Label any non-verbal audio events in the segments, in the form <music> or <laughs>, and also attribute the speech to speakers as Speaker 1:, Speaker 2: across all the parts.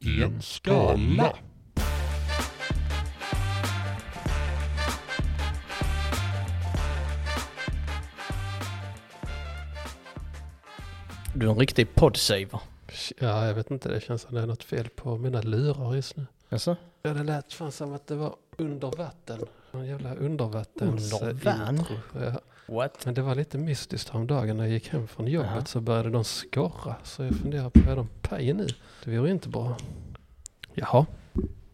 Speaker 1: i en skala.
Speaker 2: Du är en riktig podsaver.
Speaker 1: Ja, jag vet inte, det känns som det är något fel på mina lurar just nu.
Speaker 2: Jaså?
Speaker 1: Ja, det lät fan som att det var under vatten. Någon jävla undervattens...
Speaker 2: Undervan?
Speaker 1: intro. Ja.
Speaker 2: What?
Speaker 1: Men det var lite mystiskt häromdagen när jag gick hem från jobbet
Speaker 2: Jaha.
Speaker 1: så började de skorra. Så jag funderar på, är de paj nu? Det vore inte bra. Jaha,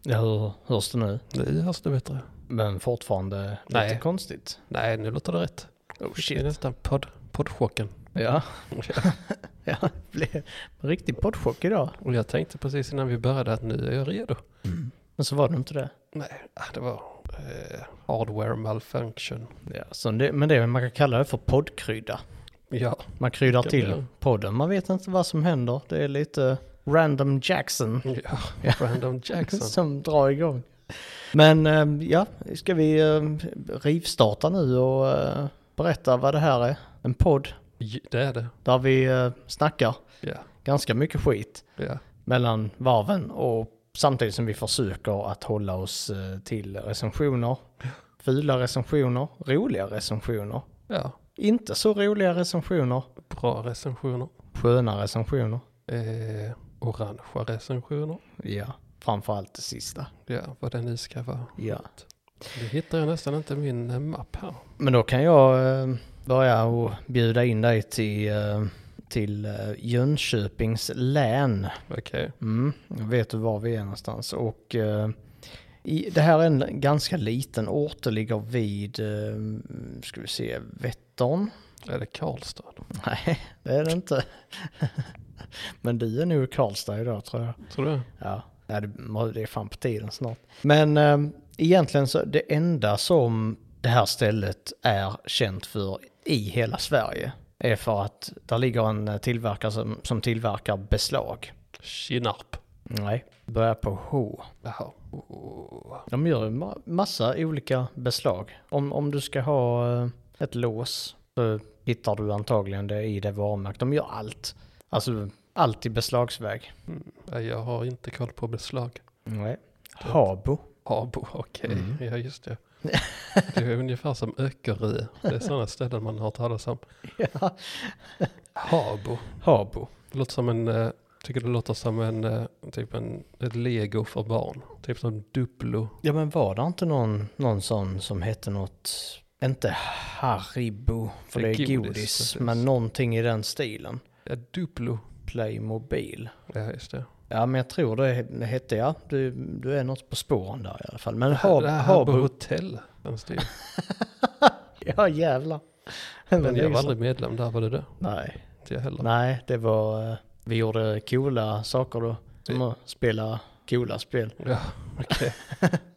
Speaker 2: Ja, hur hörs det nu?
Speaker 1: nu hörs det bättre.
Speaker 2: Men fortfarande Nej.
Speaker 1: Nej.
Speaker 2: lite konstigt.
Speaker 1: Nej, nu låter det rätt.
Speaker 2: <laughs> Oh
Speaker 1: Det är nästan podd, poddchocken. <laughs>
Speaker 2: Ja. <laughs> ja, det blev en riktig poddchock idag.
Speaker 1: Och jag tänkte precis innan vi började att nu är jag redo.
Speaker 2: Men så var det inte det.
Speaker 1: Nej, ah, det var eh, hardware malfunction.
Speaker 2: Ja, så det men det är man kan kalla det för poddkrydda.
Speaker 1: Ja,
Speaker 2: Man kryddar
Speaker 1: Kan
Speaker 2: till
Speaker 1: det.
Speaker 2: podden. Man vet inte vad som händer. Det är lite random Jackson
Speaker 1: ja.
Speaker 2: Ja.
Speaker 1: random
Speaker 2: <laughs>
Speaker 1: Jackson.
Speaker 2: som drar igång. Men eh, ja, ska vi eh, rivstarta nu och eh, berätta vad det här är? En podd
Speaker 1: J- Det är det.
Speaker 2: där vi eh, snackar
Speaker 1: Ja,
Speaker 2: ganska mycket skit
Speaker 1: ja.
Speaker 2: mellan varven och samtidigt som vi försöker att hålla oss eh, till recensioner. Fula recensioner, roliga recensioner,
Speaker 1: ja.
Speaker 2: inte så roliga recensioner,
Speaker 1: Bra recensioner.
Speaker 2: sköna recensioner.
Speaker 1: Eh, orangea recensioner.
Speaker 2: Ja, framförallt det sista.
Speaker 1: Ja, vad det nu ska vara.
Speaker 2: Ja.
Speaker 1: Nu hittar jag nästan inte min eh, mapp här.
Speaker 2: Men då kan jag eh, börja och bjuda in dig till, eh, till eh, Jönköpings län.
Speaker 1: Okej.
Speaker 2: Mm, jag vet du var vi är någonstans. Och eh, i, det här är en ganska liten ort, det ligger vid, eh, ska vi se, Vättern?
Speaker 1: Är det Karlstad?
Speaker 2: Nej, det är det inte. <laughs> Men du är nog i Karlstad idag tror jag.
Speaker 1: Tror du?
Speaker 2: Ja, ja, det, må- det är fan på tiden snart. Men eh, egentligen så det enda som det här stället är känt för i hela Sverige är för att där ligger en eh, tillverkare som, som tillverkar beslag.
Speaker 1: Kinnarp.
Speaker 2: Nej, börjar på H.
Speaker 1: Jaha. Oh.
Speaker 2: De gör ju ma- massa olika beslag. Om, om du ska ha eh, ett lås så hittar du antagligen det i det varumärket. De gör allt. Alltså allt i beslagsväg.
Speaker 1: Nej, Jag har inte koll på beslag.
Speaker 2: Nej. Habo.
Speaker 1: Habo, okej.
Speaker 2: Mm.
Speaker 1: Ja, just det. Det är ungefär som Öckerö. Det är sådana ställen man har talas om.
Speaker 2: <laughs> ja.
Speaker 1: Habo.
Speaker 2: Habo.
Speaker 1: Det låter som en... eh, Tycker det låter som en, eh, typ en, ett lego för barn. Typ som Duplo.
Speaker 2: Ja men var det inte någon, någon sån som hette något, inte Haribo, för det är godis,
Speaker 1: precis.
Speaker 2: men någonting i den stilen.
Speaker 1: Ja, Duplo.
Speaker 2: Playmobil.
Speaker 1: Ja, just det.
Speaker 2: Ja men jag tror det hette, ja du, du är något på spåren där i alla fall. Men
Speaker 1: Ha,
Speaker 2: Hab,
Speaker 1: det här Habo
Speaker 2: Habo,
Speaker 1: Hotel. Den stil.
Speaker 2: <laughs> ja jävlar. Men
Speaker 1: Men jag var
Speaker 2: liksom-
Speaker 1: aldrig medlem där, var det det?
Speaker 2: Nej,
Speaker 1: Inte jag heller.
Speaker 2: nej det var, eh, vi gjorde coola saker då. Som att spela coola spel.
Speaker 1: Ja,
Speaker 2: <laughs>
Speaker 1: okej.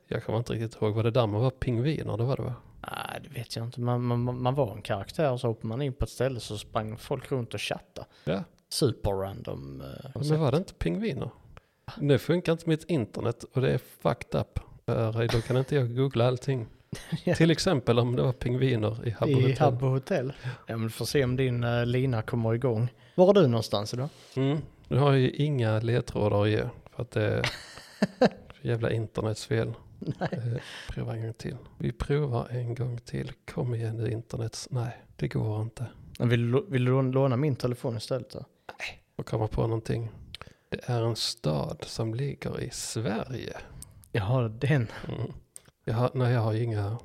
Speaker 1: jag kommer inte riktigt ihåg. Var det där man var pingviner? Det var det va?
Speaker 2: Nej det vet jag inte, man, man, man var en karaktär och så hoppade man in på ett ställe så sprang folk runt och chattade.
Speaker 1: Ja.
Speaker 2: Superrandom. eh,
Speaker 1: Men var det inte pingviner? Nu funkar inte mitt internet och det är fucked up. För Då kan inte jag googla allting.
Speaker 2: <laughs> Ja.
Speaker 1: Till exempel om det var pingviner i Habbo
Speaker 2: I
Speaker 1: Hotel.
Speaker 2: Habbo Hotel. Ja, men du får se om din eh, lina kommer igång. Var är du någonstans idag?
Speaker 1: Mm. Nu har jag ju inga ledtrådar att ge. För att det
Speaker 2: <laughs>
Speaker 1: är jävla internets fel. Eh, Prova en gång till. Vi provar en gång till. Kom igen nu internets. Nej, det går inte.
Speaker 2: Vill, du- vill du låna min telefon istället? Då?
Speaker 1: Och komma på någonting. Det är en stad som ligger i Sverige.
Speaker 2: Jaha, den.
Speaker 1: Mm. Jag har, nej, jag har ju inga.
Speaker 2: <laughs>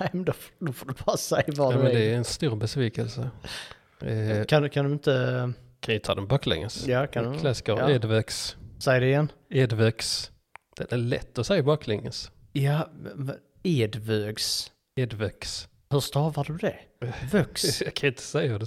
Speaker 2: Nej, men då, får- då får du bara säga var
Speaker 1: Nej,
Speaker 2: du
Speaker 1: men
Speaker 2: är.
Speaker 1: det är en stor besvikelse. Eh,
Speaker 2: Kan, du- kan du inte...
Speaker 1: kan jag ta den baklänges?
Speaker 2: Ja, kan du?
Speaker 1: Klassiker,
Speaker 2: Ja.
Speaker 1: Edvex.
Speaker 2: Säg det igen.
Speaker 1: Edvex. Det är lätt att säga baklänges.
Speaker 2: Ja, v- Edvögs.
Speaker 1: Edvex.
Speaker 2: Hur stavar du det? Vöx?
Speaker 1: <laughs> Jag kan inte säga hur det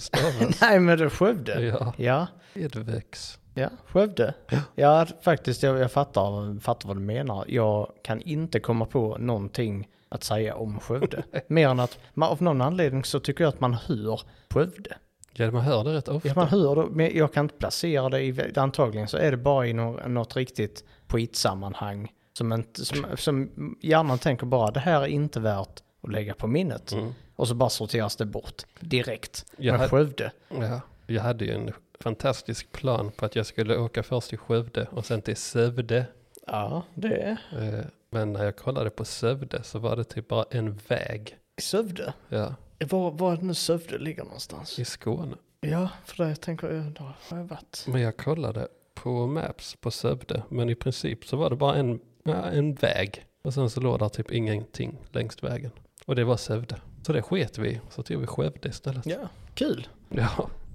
Speaker 2: <laughs>
Speaker 1: stavas.
Speaker 2: Nej, men det är Skövde.
Speaker 1: ja,
Speaker 2: <laughs> Ja,
Speaker 1: Edvex.
Speaker 2: ja, Skövde. Ja, faktiskt, jag, jag fattar, fattar vad du menar. Jag kan inte komma på någonting att säga om <laughs> Skövde. Mer än att, man, av någon anledning så tycker jag att man hör Skövde.
Speaker 1: Ja, man hör det rätt ofta.
Speaker 2: Ja, man hör det, men jag kan inte placera det i, antagligen så är det bara i något, något riktigt skitsammanhang. Som, inte, som, som hjärnan tänker bara, det här är inte värt att lägga på minnet.
Speaker 1: Mm.
Speaker 2: Och så bara sorteras det bort direkt.
Speaker 1: Ja.
Speaker 2: Men Skövde,
Speaker 1: Ja, jag hade ju en fantastisk plan på att jag skulle åka först till Skövde och sen till Sövde.
Speaker 2: Ja, det är
Speaker 1: Eh, Men när jag kollade på Sövde så var det typ bara en väg.
Speaker 2: Sövde.
Speaker 1: Ja,
Speaker 2: Var, var är det nu Sövde ligger någonstans?
Speaker 1: i Skåne.
Speaker 2: Ja, för det tänker jag, där har jag varit.
Speaker 1: Men jag kollade på Maps på Sövde. Men i princip så var det bara en, ja, en väg. Och sen så låg där typ ingenting längs vägen. Och det var Sövde. Så det sket vi i. Så tog vi Skövde istället.
Speaker 2: Ja, kul.
Speaker 1: Ja.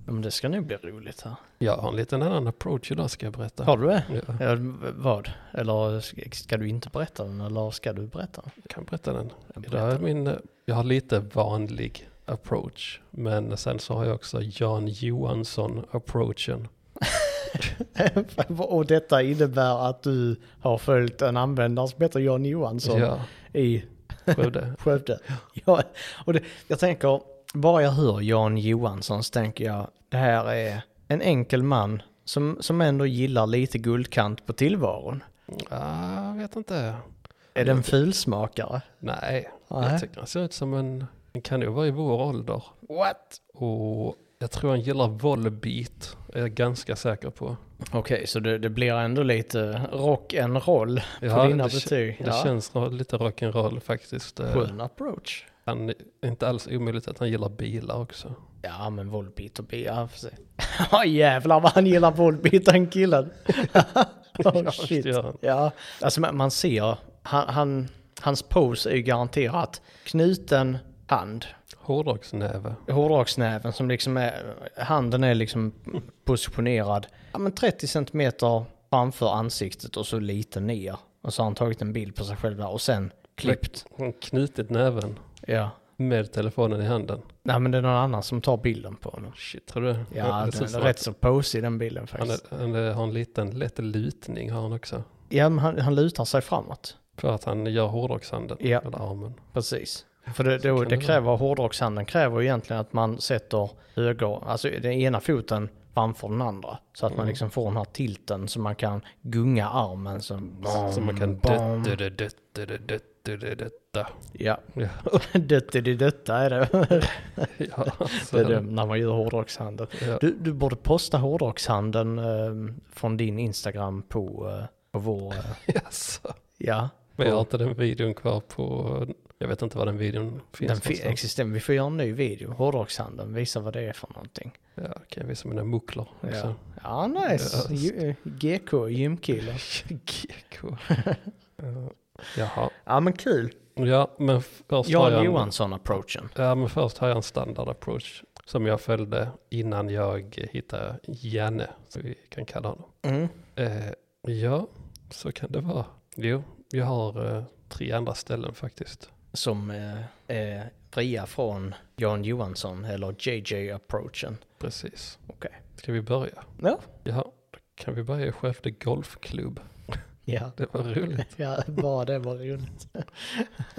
Speaker 2: Ja, Men det ska nog bli roligt här.
Speaker 1: Jag har en liten annan approach idag ska jag berätta.
Speaker 2: Har du det?
Speaker 1: Ja,
Speaker 2: Ja, vad? Eller ska- ska du inte berätta den eller ska du berätta den?
Speaker 1: jag kan berätta den. Idag är
Speaker 2: Berätta.
Speaker 1: min, eh, jag har lite vanlig approach. Men sen så har jag också Jan Johansson-approachen.
Speaker 2: <laughs> Och detta innebär att du har följt en användare som heter Jan Johansson
Speaker 1: Ja,
Speaker 2: i
Speaker 1: Skövde.
Speaker 2: Skövde. Ja, och det, jag tänker, bara jag hör Jan Johansson så tänker jag, det här är en enkel man som, som ändå gillar lite guldkant på tillvaron.
Speaker 1: Ah, jag vet inte.
Speaker 2: Är det en filsmakare?
Speaker 1: Nej,
Speaker 2: Nej.
Speaker 1: jag tycker han ser ut som en, en kanon. Vad är vår ålder?
Speaker 2: What?
Speaker 1: Och jag tror han gillar Volbeat, är jag ganska säker på.
Speaker 2: Okej, så det, det blir ändå lite rock'n'roll på
Speaker 1: Ja,
Speaker 2: dina
Speaker 1: det, kä-
Speaker 2: betyg.
Speaker 1: det känns nog lite rock'n'roll faktiskt. Eh,
Speaker 2: Skön approach.
Speaker 1: Han är inte alls omöjligt att han gillar bilar också.
Speaker 2: Ja, men Volbeat och B, ja för sig. <laughs> Ja, jävlar vad han gillar Volbeat den killen. <laughs> oh
Speaker 1: <laughs> Ja,
Speaker 2: shit.
Speaker 1: det gör han.
Speaker 2: Ja, alltså man, man ser, han, han, hans pose är ju garanterat knuten hand.
Speaker 1: Hårdrocksnäve.
Speaker 2: Hårdragsnäven som liksom är, handen är liksom positionerad, ja men 30 centimeter framför ansiktet och så lite ner. Och så har han tagit en bild på sig själv där och sen klippt.
Speaker 1: Han knutit näven
Speaker 2: Ja.
Speaker 1: med telefonen i handen.
Speaker 2: Nej men det är någon annan som tar bilden på honom.
Speaker 1: Shit, tror du?
Speaker 2: Ja,
Speaker 1: det ser
Speaker 2: den
Speaker 1: som
Speaker 2: är
Speaker 1: att
Speaker 2: rätt så posig den bilden
Speaker 1: Han,
Speaker 2: faktiskt.
Speaker 1: är, han är, har en liten lätt lutning har han också.
Speaker 2: Ja, men han, han lutar sig framåt.
Speaker 1: För att han gör hårdrockshanden,
Speaker 2: Ja.
Speaker 1: eller armen.
Speaker 2: Precis. För det, då,
Speaker 1: kan
Speaker 2: det
Speaker 1: det
Speaker 2: kräver, hårdrockshandeln kräver ju egentligen att man sätter höger, alltså den ena foten framför den andra. Så att
Speaker 1: Mm.
Speaker 2: man liksom får den här tilten så man kan gunga armen som...
Speaker 1: Så man kan
Speaker 2: bam.
Speaker 1: dö dö dö dö dö dö dö dö dö dö.
Speaker 2: Ja, <laughs>
Speaker 1: Ja,
Speaker 2: dött i detta är det.
Speaker 1: <laughs> ja, alltså,
Speaker 2: det är det när man gör hårdrockshandeln.
Speaker 1: Ja.
Speaker 2: Du, du borde posta hårdrockshandeln eh, från din Instagram på, eh, på vår... Eh,
Speaker 1: Jaså.
Speaker 2: ja.
Speaker 1: Men jag har inte den videon kvar på, jag vet inte var den videon finns liksom.
Speaker 2: Den fi-
Speaker 1: någonstans.
Speaker 2: existerar. Vi får göra en ny video. Hårdrockshandeln, visa vad det är för någonting.
Speaker 1: Ja, kan jag visa mina mucklor
Speaker 2: Ja,
Speaker 1: också.
Speaker 2: ja nice.
Speaker 1: Just.
Speaker 2: Ju- GK, gymkille.
Speaker 1: GK. Ja. Jaha.
Speaker 2: <laughs> Ja men kul.
Speaker 1: Ja, men först har
Speaker 2: Jan
Speaker 1: jag en-
Speaker 2: Johansson-approachen.
Speaker 1: Ja, men först har jag en standard approach som jag följde innan jag hittade Janne, som vi kan kalla honom.
Speaker 2: Mm.
Speaker 1: Eh, ja, så kan det vara. Jo, jag har eh, tre andra ställen faktiskt.
Speaker 2: Som eh, är fria från Jan Johansson eller JJ-approachen.
Speaker 1: Precis.
Speaker 2: Okej.
Speaker 1: Ska vi börja?
Speaker 2: Ja.
Speaker 1: Ja, då kan vi börja i Skövde Golfklubb.
Speaker 2: Ja.
Speaker 1: Det
Speaker 2: <laughs>
Speaker 1: var roligt.
Speaker 2: ja, bara det var roligt. <laughs>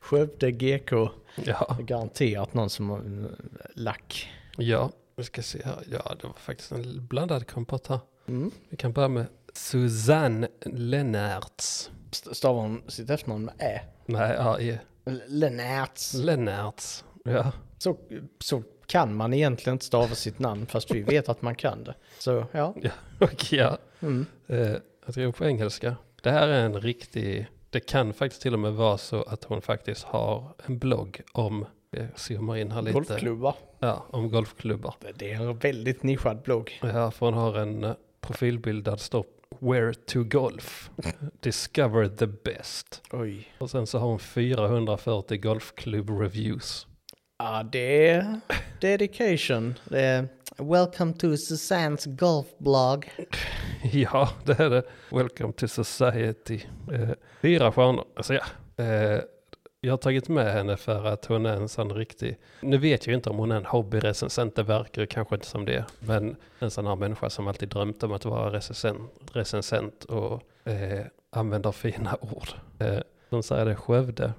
Speaker 2: Skövde GK.
Speaker 1: Ja,
Speaker 2: Garanterat någon som har eh, lack.
Speaker 1: ja. Vi ska se här. Ja, det var faktiskt en blandad kompott här.
Speaker 2: Mm.
Speaker 1: Vi kan börja med Susanne Lennarts.
Speaker 2: St- Stavar hon sitt efternamn med Ä?
Speaker 1: Nej, ja, i-
Speaker 2: L- Lennarts.
Speaker 1: Lennarts. Ja, <laughs>
Speaker 2: Så, så kan man egentligen inte stava sitt namn fast vi vet att man kan det. Så ja.
Speaker 1: ja. Och ja.
Speaker 2: Mm.
Speaker 1: Eh, jag tror på engelska. Det här är en riktig, det kan faktiskt till och med vara så att hon faktiskt har en blogg om, jag zoomar in här lite,
Speaker 2: Golfklubbar.
Speaker 1: ja, om golfklubbar.
Speaker 2: Det är en väldigt nischad blogg.
Speaker 1: Ja, för hon har en eh, profilbild där det står Where to Golf, Discover the Best.
Speaker 2: Oj.
Speaker 1: Och sen så har hon 440 golfklubb-reviews.
Speaker 2: Ja, det är dedication. Det är Welcome to Susannes golfblogg.
Speaker 1: <laughs> Ja, det är det. Welcome to society. Eh, fyra stjärnor. Alltså ja. Eh, jag har tagit med henne för att hon är en sån riktig... Nu vet jag ju inte om hon är en hobbyrecensent, det verkar ju kanske inte som det. Men en sån här människa som alltid drömt om att vara recensent, recensent och eh, använder fina ord. Eh, hon säger det, Skövde,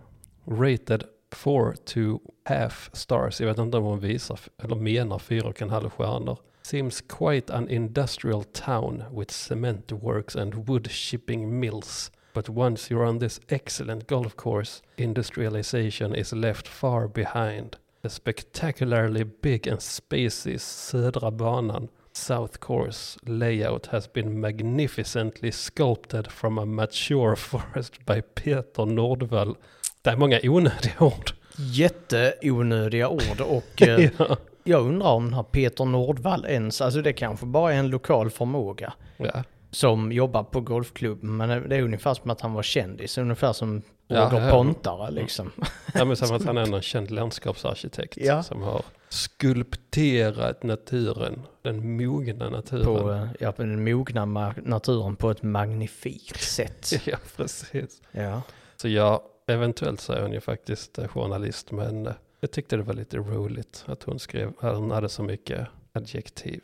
Speaker 1: rated 4 to half stars. Jag vet inte om hon visar f- eller menar fyra och en halv stjärnor. Seems quite an industrial town with cement works and wood shipping mills. But once you're on this excellent golf course, industrialization is left far behind. The spectacularly big and spacey södra banan South Core's layout has been magnificently sculpted from a mature <laughs> forest by Peter Nordvall. Det är många onödiga ord. <laughs>
Speaker 2: Jätteonödiga ord <laughs> och eh,
Speaker 1: ja.
Speaker 2: jag undrar om den här Peter Nordvall ens, alltså det kanske bara är en lokal förmåga
Speaker 1: Ja.
Speaker 2: som jobbar på golfklubben, men det är ungefär som att han var kändis, ungefär som
Speaker 1: Ja,
Speaker 2: Roger
Speaker 1: ja.
Speaker 2: Pontare liksom.
Speaker 1: ja, men som att han är en känd landskapsarkitekt
Speaker 2: Ja.
Speaker 1: som har skulpterat naturen, den mogna naturen. <laughs>
Speaker 2: På eh, ja, på den mogna ma- naturen på ett magnifikt sätt.
Speaker 1: Ja, precis.
Speaker 2: ja.
Speaker 1: Så ja, eventuellt så är hon ju faktiskt eh, journalist, men eh, jag tyckte det var lite roligt att hon skrev, att hon hade så mycket adjektiv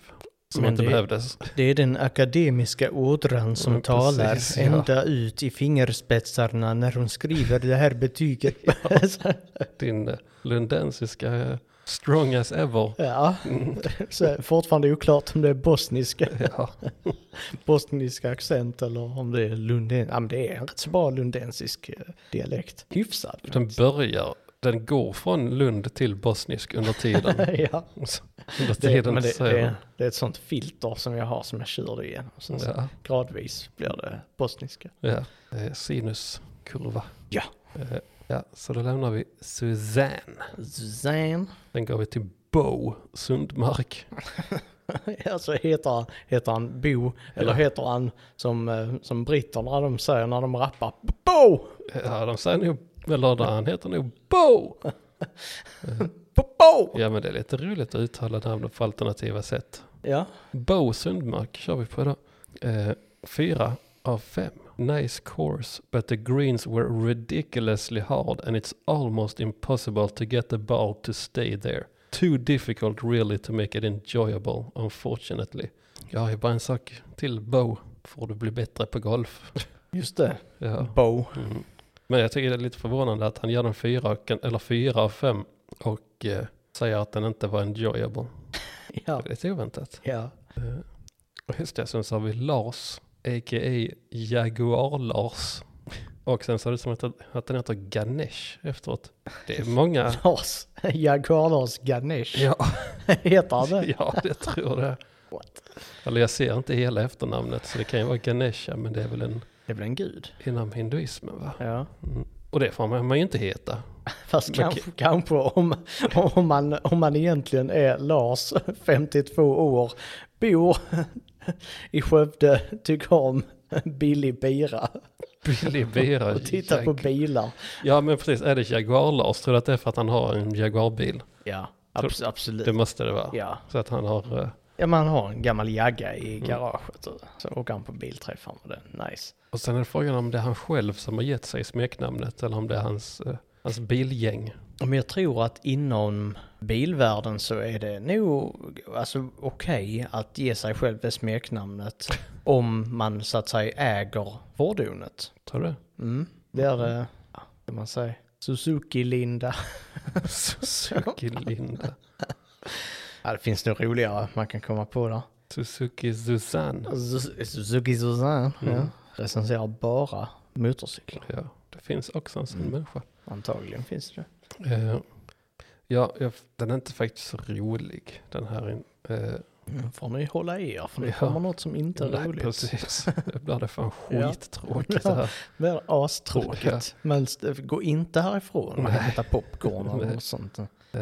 Speaker 1: som
Speaker 2: Men
Speaker 1: inte
Speaker 2: det-
Speaker 1: behövdes. <laughs>
Speaker 2: Det är den akademiska ådran som
Speaker 1: Mm,
Speaker 2: talar
Speaker 1: precis, ja.
Speaker 2: ända ut i fingerspetsarna när hon skriver det här
Speaker 1: <laughs>
Speaker 2: betyget.
Speaker 1: Din eh, lundensiska eh, strong as ever.
Speaker 2: ja, så fortfarande oklart om det är bosniska,
Speaker 1: <laughs> Ja,
Speaker 2: bosnisk accent eller om det är lunden. Ja, men det är en rätt så bra lundensisk eh, dialekt. Hyfsad.
Speaker 1: den börjar, den går från Lund till bosnisk under <laughs> tiden.
Speaker 2: <laughs> ja,
Speaker 1: Så under
Speaker 2: det,
Speaker 1: tiden
Speaker 2: men det,
Speaker 1: så
Speaker 2: det, det är ett sånt filter som jag har som jag kör igenom. Så, så
Speaker 1: ja,
Speaker 2: gradvis blir det bosniska.
Speaker 1: ja, eh, sinuskurva.
Speaker 2: Ja.
Speaker 1: Eh, Ja, så då lämnar vi Suzanne.
Speaker 2: Zan.
Speaker 1: Sen går vi till Bo Sundmark.
Speaker 2: <laughs> Alltså heter han, heter han Bo, eller
Speaker 1: Ja.
Speaker 2: heter han som, eh, som britterna de säger när de rappar Bo!
Speaker 1: Ja, de säger nog, Eh, eller där, han heter nog Bo. <laughs>
Speaker 2: Bo! Bo!
Speaker 1: Ja, men det är lite roligt att uttala namn på alternativa sätt.
Speaker 2: Ja,
Speaker 1: Bo Sundmark kör vi på idag. Eh, fyra av fem. Nice course, but the greens were ridiculously hard and it's almost impossible to get the ball to stay there. Too difficult really to make it enjoyable, unfortunately. Jag har ju bara en sak till Bo, får du bli bättre på golf. <laughs>
Speaker 2: just det.
Speaker 1: Ja.
Speaker 2: Bo.
Speaker 1: Mm. Men jag tycker det är lite förvånande att han gör den fyra, och en- eller fyra av fem och eh, säger att den inte var enjoyable.
Speaker 2: Ja.
Speaker 1: Det är lite oväntat.
Speaker 2: ja.
Speaker 1: Eh, och just det, sen så har vi Lars, a.k.a. Jaguar-Lars. Och sen så är det som att, att den heter Ganesh efteråt. Det
Speaker 2: <laughs>
Speaker 1: är många.
Speaker 2: Lars, Jaguar-Lars Ganesh
Speaker 1: Ja,
Speaker 2: <laughs> heter han det?
Speaker 1: <laughs> ja det tror jag.
Speaker 2: What?
Speaker 1: Eller jag ser inte hela efternamnet så det kan ju vara Ganesha men det är väl en,
Speaker 2: Det blir en gud.
Speaker 1: inom hinduismen va?
Speaker 2: Ja,
Speaker 1: Mm. Och det får man man ju inte heta.
Speaker 2: fast
Speaker 1: Men
Speaker 2: kanske, kanske om, om, man, om man egentligen är Lars, <laughs> 52 år, bor <laughs> i Skövde, tycker om billig bira
Speaker 1: Billy Bera
Speaker 2: och tittar på bilar.
Speaker 1: Ja men precis, är det Jaguar-Lars tror du att det är för att han har en Jaguar-bil?
Speaker 2: Ja,
Speaker 1: Tror-
Speaker 2: abs- absolut.
Speaker 1: Det måste det vara.
Speaker 2: Ja.
Speaker 1: Så att han har, eh,
Speaker 2: ja, man har en gammal jagga i garaget och så åker han på bilträffar med den. Nice.
Speaker 1: och sen är frågan om det är han själv som har gett sig smeknamnet eller om det är hans, eh, hans bilgäng.
Speaker 2: Men jag tror att inom bilvärlden så är det nog alltså, okej att ge sig själv det <laughs> smeknamnet om man så att säga äger fordonet.
Speaker 1: Tror du?
Speaker 2: Mm. Det är det, ja, kan man säga, <laughs> Suzuki-Linda.
Speaker 1: Suzuki Linda.
Speaker 2: Ja, det finns nog roligare man kan komma på där.
Speaker 1: Suzuki Susanne.
Speaker 2: Suz- Suzuki Susanne, ja.
Speaker 1: Mm.
Speaker 2: Recenserar bara motorcyklar.
Speaker 1: Ja, det finns också en sån
Speaker 2: Mm.
Speaker 1: människa.
Speaker 2: Antagligen finns det.
Speaker 1: Eh, ja, jag, den är inte faktiskt så rolig den här. in- Eh,
Speaker 2: Nu Mm, får ni hålla er, för nu
Speaker 1: Ja.
Speaker 2: kommer något som inte är
Speaker 1: nej,
Speaker 2: roligt. <laughs>
Speaker 1: precis. Det blir det fan
Speaker 2: Ja.
Speaker 1: skittråkigt det här.
Speaker 2: Det är astråkigt.
Speaker 1: Ja.
Speaker 2: Men st- gå inte härifrån och
Speaker 1: Nej.
Speaker 2: hämta popcorn
Speaker 1: Nej.
Speaker 2: och något sånt.
Speaker 1: Eh,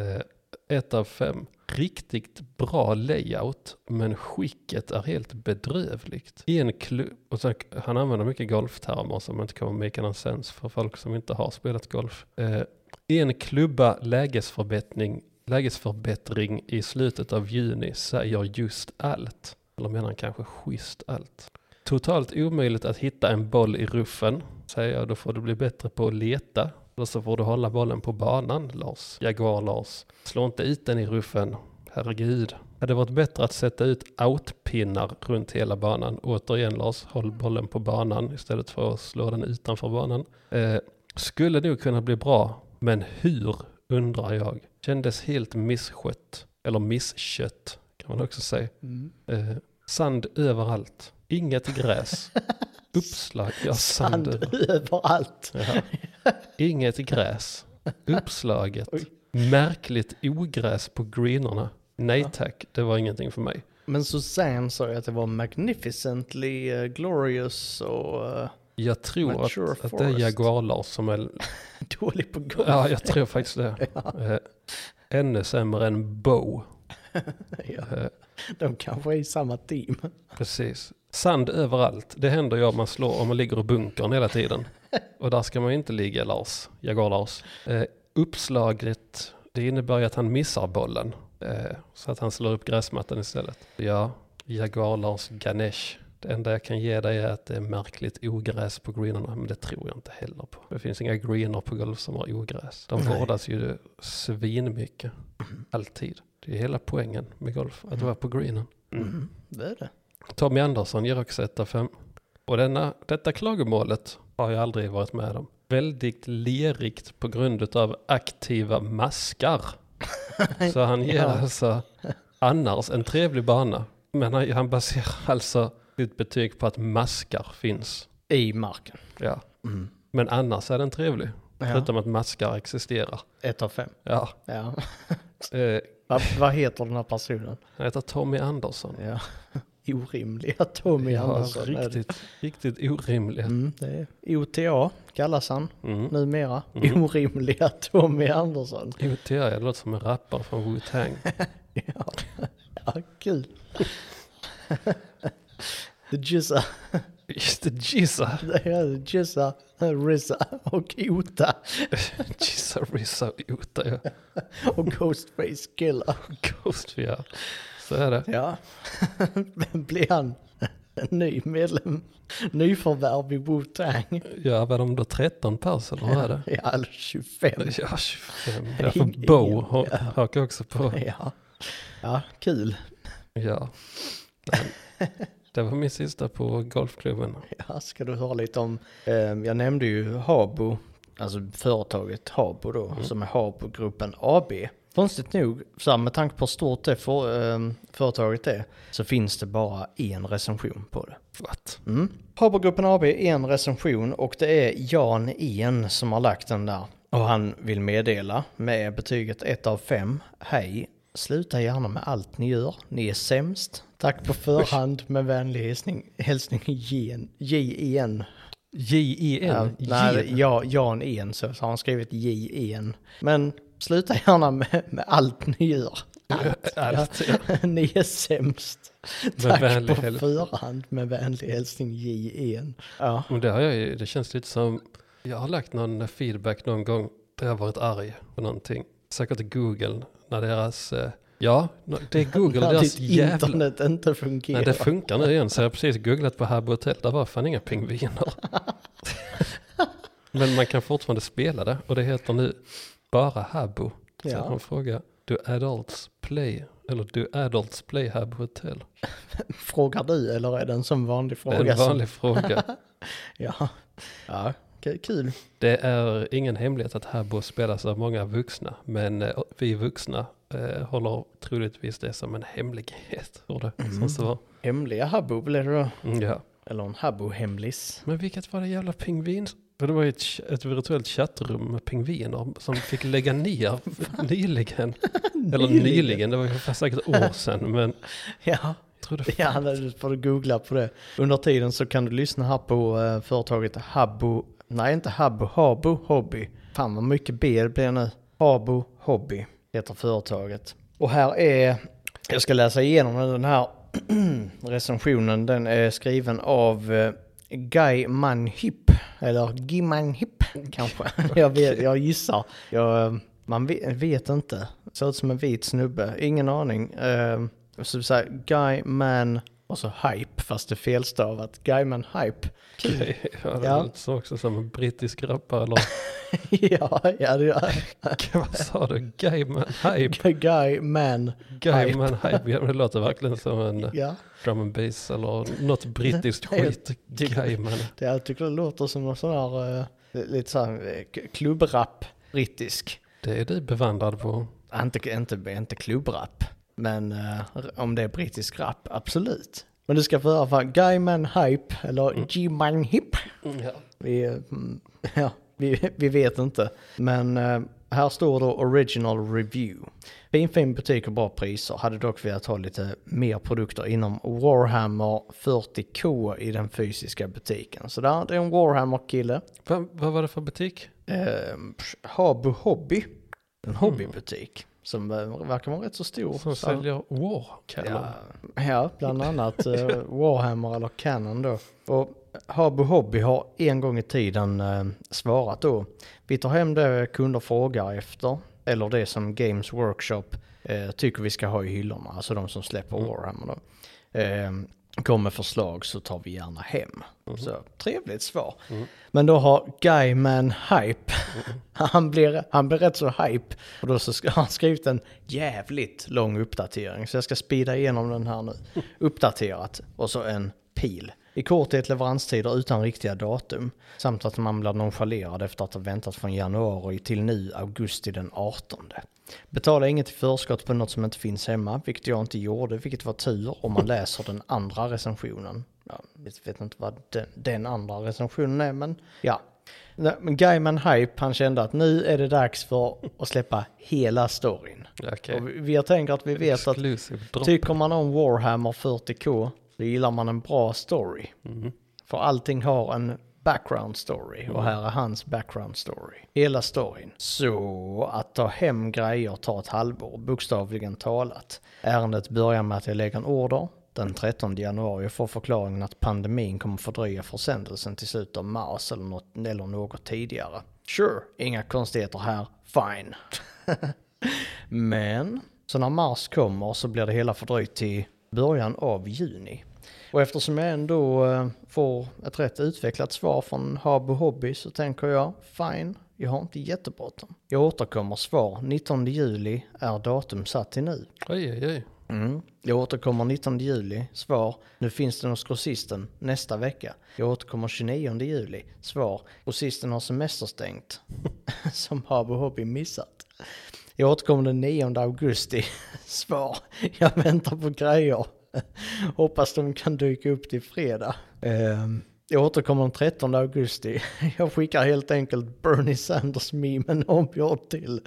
Speaker 1: ett av fem. Riktigt bra layout, men skicket är helt bedrövligt. I en klubb, och sen, han använder mycket golftermer som inte kommer make någon sense för folk som inte har spelat golf. Eh, I en klubba lägesförbättring, lägesförbättring i slutet av juni säger just allt. Eller menar han kanske schysst allt. Totalt omöjligt att hitta en boll i ruffen, säger jag. Då får du bli bättre på att leta. Eller så får du hålla bollen på banan, Lars. Jaguar-Lars. Slå inte ut den i ruffen. Herregud. Hade varit bättre att sätta ut outpinnar runt hela banan. Återigen Lars, håll bollen på banan istället för att slå den utanför banan. Eh, skulle nog kunna bli bra, men hur undrar jag. Kändes helt misskött. Eller misskött kan man också säga. Eh, sand överallt. Inget gräs. Uppslag. Ja, sand.
Speaker 2: Sand
Speaker 1: sand.
Speaker 2: överallt.
Speaker 1: Ja. Inget gräs. Uppslaget.
Speaker 2: Oj.
Speaker 1: Märkligt ogräs på greenerna. Nej tack, det var ingenting för mig.
Speaker 2: Men Susanne sa ju att det var magnificently eh, glorious och eh, <laughs>
Speaker 1: Jag tror
Speaker 2: Mature
Speaker 1: att, att det är
Speaker 2: Forest.
Speaker 1: Jaguar-Lars som är...
Speaker 2: dålig på golf.
Speaker 1: Ja, jag tror faktiskt det. Eh, ännu sämre än Bo.
Speaker 2: <laughs> Ja,
Speaker 1: Eh,
Speaker 2: de kanske är i samma team.
Speaker 1: Precis. Sand överallt. Det händer ju om man slår, om man ligger i bunkern hela tiden. Och där ska man ju inte ligga Lars, Jaguar-Lars. Eh, uppslaget, det innebär ju att han missar bollen. Eh, så att han slår upp gräsmattan istället. Ja, Jaguar-Lars Ganesh. Det enda jag kan ge dig är att det är märkligt ogräs på greenerna, men det tror jag inte heller på. Det finns inga greener på golf som har ogräs. De
Speaker 2: Nej.
Speaker 1: vårdas ju svinmycket, alltid. Det är hela poängen med golf, att vara på greenen.
Speaker 2: Mm. Det är det.
Speaker 1: Tommy Andersson ger också 1 av 5. Och denna, detta klagomålet har jag aldrig varit med om. Väldigt lerigt på grund av
Speaker 2: <laughs>
Speaker 1: aktiva maskar. Så han ger
Speaker 2: Ja.
Speaker 1: alltså annars en trevlig bana. Men han, han baserar alltså sitt betyg på att maskar finns.
Speaker 2: I marken.
Speaker 1: Ja.
Speaker 2: Mm.
Speaker 1: Men annars är den trevlig. Förutom att maskar existerar.
Speaker 2: Ett av fem.
Speaker 1: Ja.
Speaker 2: Ja. <laughs>
Speaker 1: Eh,
Speaker 2: Vad vad heter den här personen?
Speaker 1: han heter Tommy Andersson.
Speaker 2: <laughs> Ja. Orimliga Tommy
Speaker 1: Ja,
Speaker 2: Andersson. är det.
Speaker 1: riktigt, riktigt orimligt.
Speaker 2: Mm, det är OTA kallas han
Speaker 1: Mm.
Speaker 2: numera.
Speaker 1: Mm.
Speaker 2: Orimliga <laughs> Tommy Andersson.
Speaker 1: OTA, det låter som en rappare från Wu-Tang.
Speaker 2: Ja, ja kul. <laughs> The Jizza,
Speaker 1: <laughs> Just det, Jizza,
Speaker 2: det är The Jizza, Rizza och Ota
Speaker 1: <laughs> Jizza, Rizza, Ota, ja.
Speaker 2: och Ghostface Killer.
Speaker 1: Ghost VR. Så är det.
Speaker 2: Ja, <laughs> vem blir han? En ny medlem, nyförvärv i Wu-Tang.
Speaker 1: Ja, var de då 13 pers eller vad är det?
Speaker 2: Ja, eller 25.
Speaker 1: Ja, <laughs> 25. Ja, för
Speaker 2: Ingen-
Speaker 1: Bo ha- hakar också på.
Speaker 2: Ja, ja kul.
Speaker 1: Ja. Nej. Det var min sista på golfklubben.
Speaker 2: <laughs> Ja, ska du höra lite om, eh, jag nämnde ju Habo, alltså företaget Habo då, som är Habo-gruppen AB. Konstigt nog, så här, med tanke på hur stort det för, eh, företaget är, så finns det bara en recension på det.
Speaker 1: What?
Speaker 2: Mm. Habo-gruppen AB är en recension och det är Jan En som har lagt den där. Och han vill meddela med betyget 1 av 5. Hej, sluta gärna med allt ni gör. Ni är sämst. Tack på förhand med vänlig hälsning, hälsning Jen- J.E.N. Ja,
Speaker 1: J-I-N?
Speaker 2: nej,
Speaker 1: J.
Speaker 2: ja, Jan En så har han skrivit J.E.N. Men sluta gärna med, med allt ni gör.
Speaker 1: Allt. ja.
Speaker 2: <laughs> Ni är sämst.
Speaker 1: Med
Speaker 2: Tack
Speaker 1: vänlig
Speaker 2: på
Speaker 1: hälsning.
Speaker 2: förhand med vänlig hälsning E J.E.N. Ja.
Speaker 1: Men det, har jag, ju- det känns lite som, jag har lagt någon feedback någon gång där jag varit arg på någonting. Säkert Google, när deras, eh, ja, det är <laughs> Google,
Speaker 2: När
Speaker 1: deras
Speaker 2: ditt
Speaker 1: jävla...
Speaker 2: internet inte fungerar.
Speaker 1: Nej, det funkar nu igen. Så jag har precis googlat på Habbo Hotel. Där var fan
Speaker 2: <laughs>
Speaker 1: inga pingviner. Men man kan fortfarande spela det. Och det heter nu bara Habbo. Så
Speaker 2: Ja.
Speaker 1: han frågar, do adults play? Eller do adults play Habbo Hotel?
Speaker 2: Frågar du eller är det en sån vanlig
Speaker 1: Det
Speaker 2: fråga?
Speaker 1: är en
Speaker 2: som- <laughs>
Speaker 1: vanlig fråga.
Speaker 2: Ja. ja, k- kul.
Speaker 1: Det är ingen hemlighet att Habbo spelas av många vuxna. Men eh, vi vuxna eh, håller troligtvis det som en hemlighet. Tror det.
Speaker 2: Mm.
Speaker 1: Som så.
Speaker 2: Hemliga habbo blev det då.
Speaker 1: Mm, Ja.
Speaker 2: Eller en habbo-hemlis.
Speaker 1: Men vilket var det jävla pingvin? För Det var ju ett, ch- ett virtuellt chattrum med pingviner som fick lägga ner
Speaker 2: <laughs>
Speaker 1: nyligen. Eller nyligen, det var ju säkert år sedan. Men
Speaker 2: Ja,
Speaker 1: jag trodde
Speaker 2: ja nu får du googla på det. Under tiden så kan du lyssna här på eh, företaget Habbo. Nej, inte Habbo, Habo Hobby. Fan vad mycket B det blir nu. Habo Hobby heter företaget. Och här är, jag ska läsa igenom den här <clears throat> recensionen. Den är skriven av eh, Guy Manhip. Eller Guy Manhip kanske. <laughs> Jag, vet, jag gissar. Jag, eh, man vet, vet inte. Ser ut som en vit snubbe. Ingen aning. Eh, Så så här, Guy Man och så Hype fast det är felstavat. Guy Man Hype.
Speaker 1: okej. Ja,
Speaker 2: Ja.
Speaker 1: det lät så också som en brittisk
Speaker 2: <laughs>
Speaker 1: rappare. Eller
Speaker 2: <laughs> ja, ja, det är
Speaker 1: vad sa du? Gaiman
Speaker 2: <laughs>
Speaker 1: Hype?
Speaker 2: Guy Man.
Speaker 1: Gaiman Hype? Ja, men det låter verkligen som en eh,
Speaker 2: Ja,
Speaker 1: drum and bass eller
Speaker 2: <laughs>
Speaker 1: något brittiskt
Speaker 2: Nej,
Speaker 1: skit.
Speaker 2: tycker-
Speaker 1: Gaiman.
Speaker 2: det jag tycker det låter som någon sån här, eh, lite så här eh, k- klubbrapp, brittisk.
Speaker 1: Det är du bevandrad på.
Speaker 2: Inte, inte, inte klubbrapp, men eh, om det är brittisk rap, absolut. Men du ska få höra från Guyman Hype, eller G-Man Hip.
Speaker 1: Ja.
Speaker 2: <laughs> Vi, eh, mm, ja, vi, vi vet inte. Men eh, Här står då original review. Fin fin butik och bra priser. Hade dock velat ha lite mer produkter inom Warhammer 40K i den fysiska butiken. Så där, det är en Warhammer-kille.
Speaker 1: Va, vad var det för butik?
Speaker 2: Ehm, pff, Habu Hobby. En hobbybutik. Som eh, verkar vara rätt så stor.
Speaker 1: Mm. Som
Speaker 2: Så-
Speaker 1: säljer War Cannon.
Speaker 2: Ja, ja, bland annat eh, Warhammer eller Canon då. Och Habu Hobby har en gång i tiden eh, svarat då. Vi tar hem det kunder frågar efter. Eller det som Games Workshop eh, tycker vi ska ha i hyllorna. Alltså de som släpper Warhammer då. Eh, kom med förslag så tar vi gärna hem. Så trevligt svar. Men då har Guyman hype. <laughs> Han, blir, han blir rätt så hype. Och då så ska <laughs> han skrivit en jävligt lång uppdatering. Så jag ska speeda igenom den här nu. Uppdaterat och så en pil. I korthet leveranstider utan riktiga datum. Samt att man blir nonchalerad efter att ha väntat från januari till nu augusti den 18. Betala inget i förskott på något som inte finns hemma, vilket jag inte gjorde, vilket var tur om man läser den andra recensionen. Ja, jag vet inte vad den, den andra recensionen är, men ja. Nej, men Guyman Hype, han kände att nu är det dags för att släppa hela storyn.
Speaker 1: Okej.
Speaker 2: Och vi, vi tänker att vi vet att
Speaker 1: Exclusive drop.
Speaker 2: Tycker man om Warhammer 40K så gillar man en bra story. För allting har en background story och här är hans background story. Hela storyn. Så att ta hem grejer tar ett halvår, bokstavligen talat. Ärendet börjar med att jag lägger en order. Den 13 januari får förklaringen att pandemin kommer fördröja försändelsen till slutet av mars eller något, eller något tidigare. Sure, inga konstigheter här. Fine. <laughs> Men, så när mars kommer så blir det hela fördröjt till början av juni. Och eftersom jag ändå eh, får ett rätt utvecklat svar från Habo Hobby så tänker jag, fine, jag har inte jättebråttom. Jag återkommer svar, 19 juli är datum satt till nu.
Speaker 1: Oj, oj, oj.
Speaker 2: Mm. Jag återkommer 19 juli, svar. Nu finns den hos grossisten nästa vecka. Jag återkommer 29 juli, svar. Grossisten har semesterstängt. <laughs> Som Habo Hobby missat. Jag återkommer den 9 augusti, <laughs> svar. Jag väntar på grejer. <laughs> Hoppas de kan dyka upp till fredag. Ehm, jag återkommer den 13 augusti. <laughs> Jag skickar helt enkelt Bernie Sanders-memen om jag till.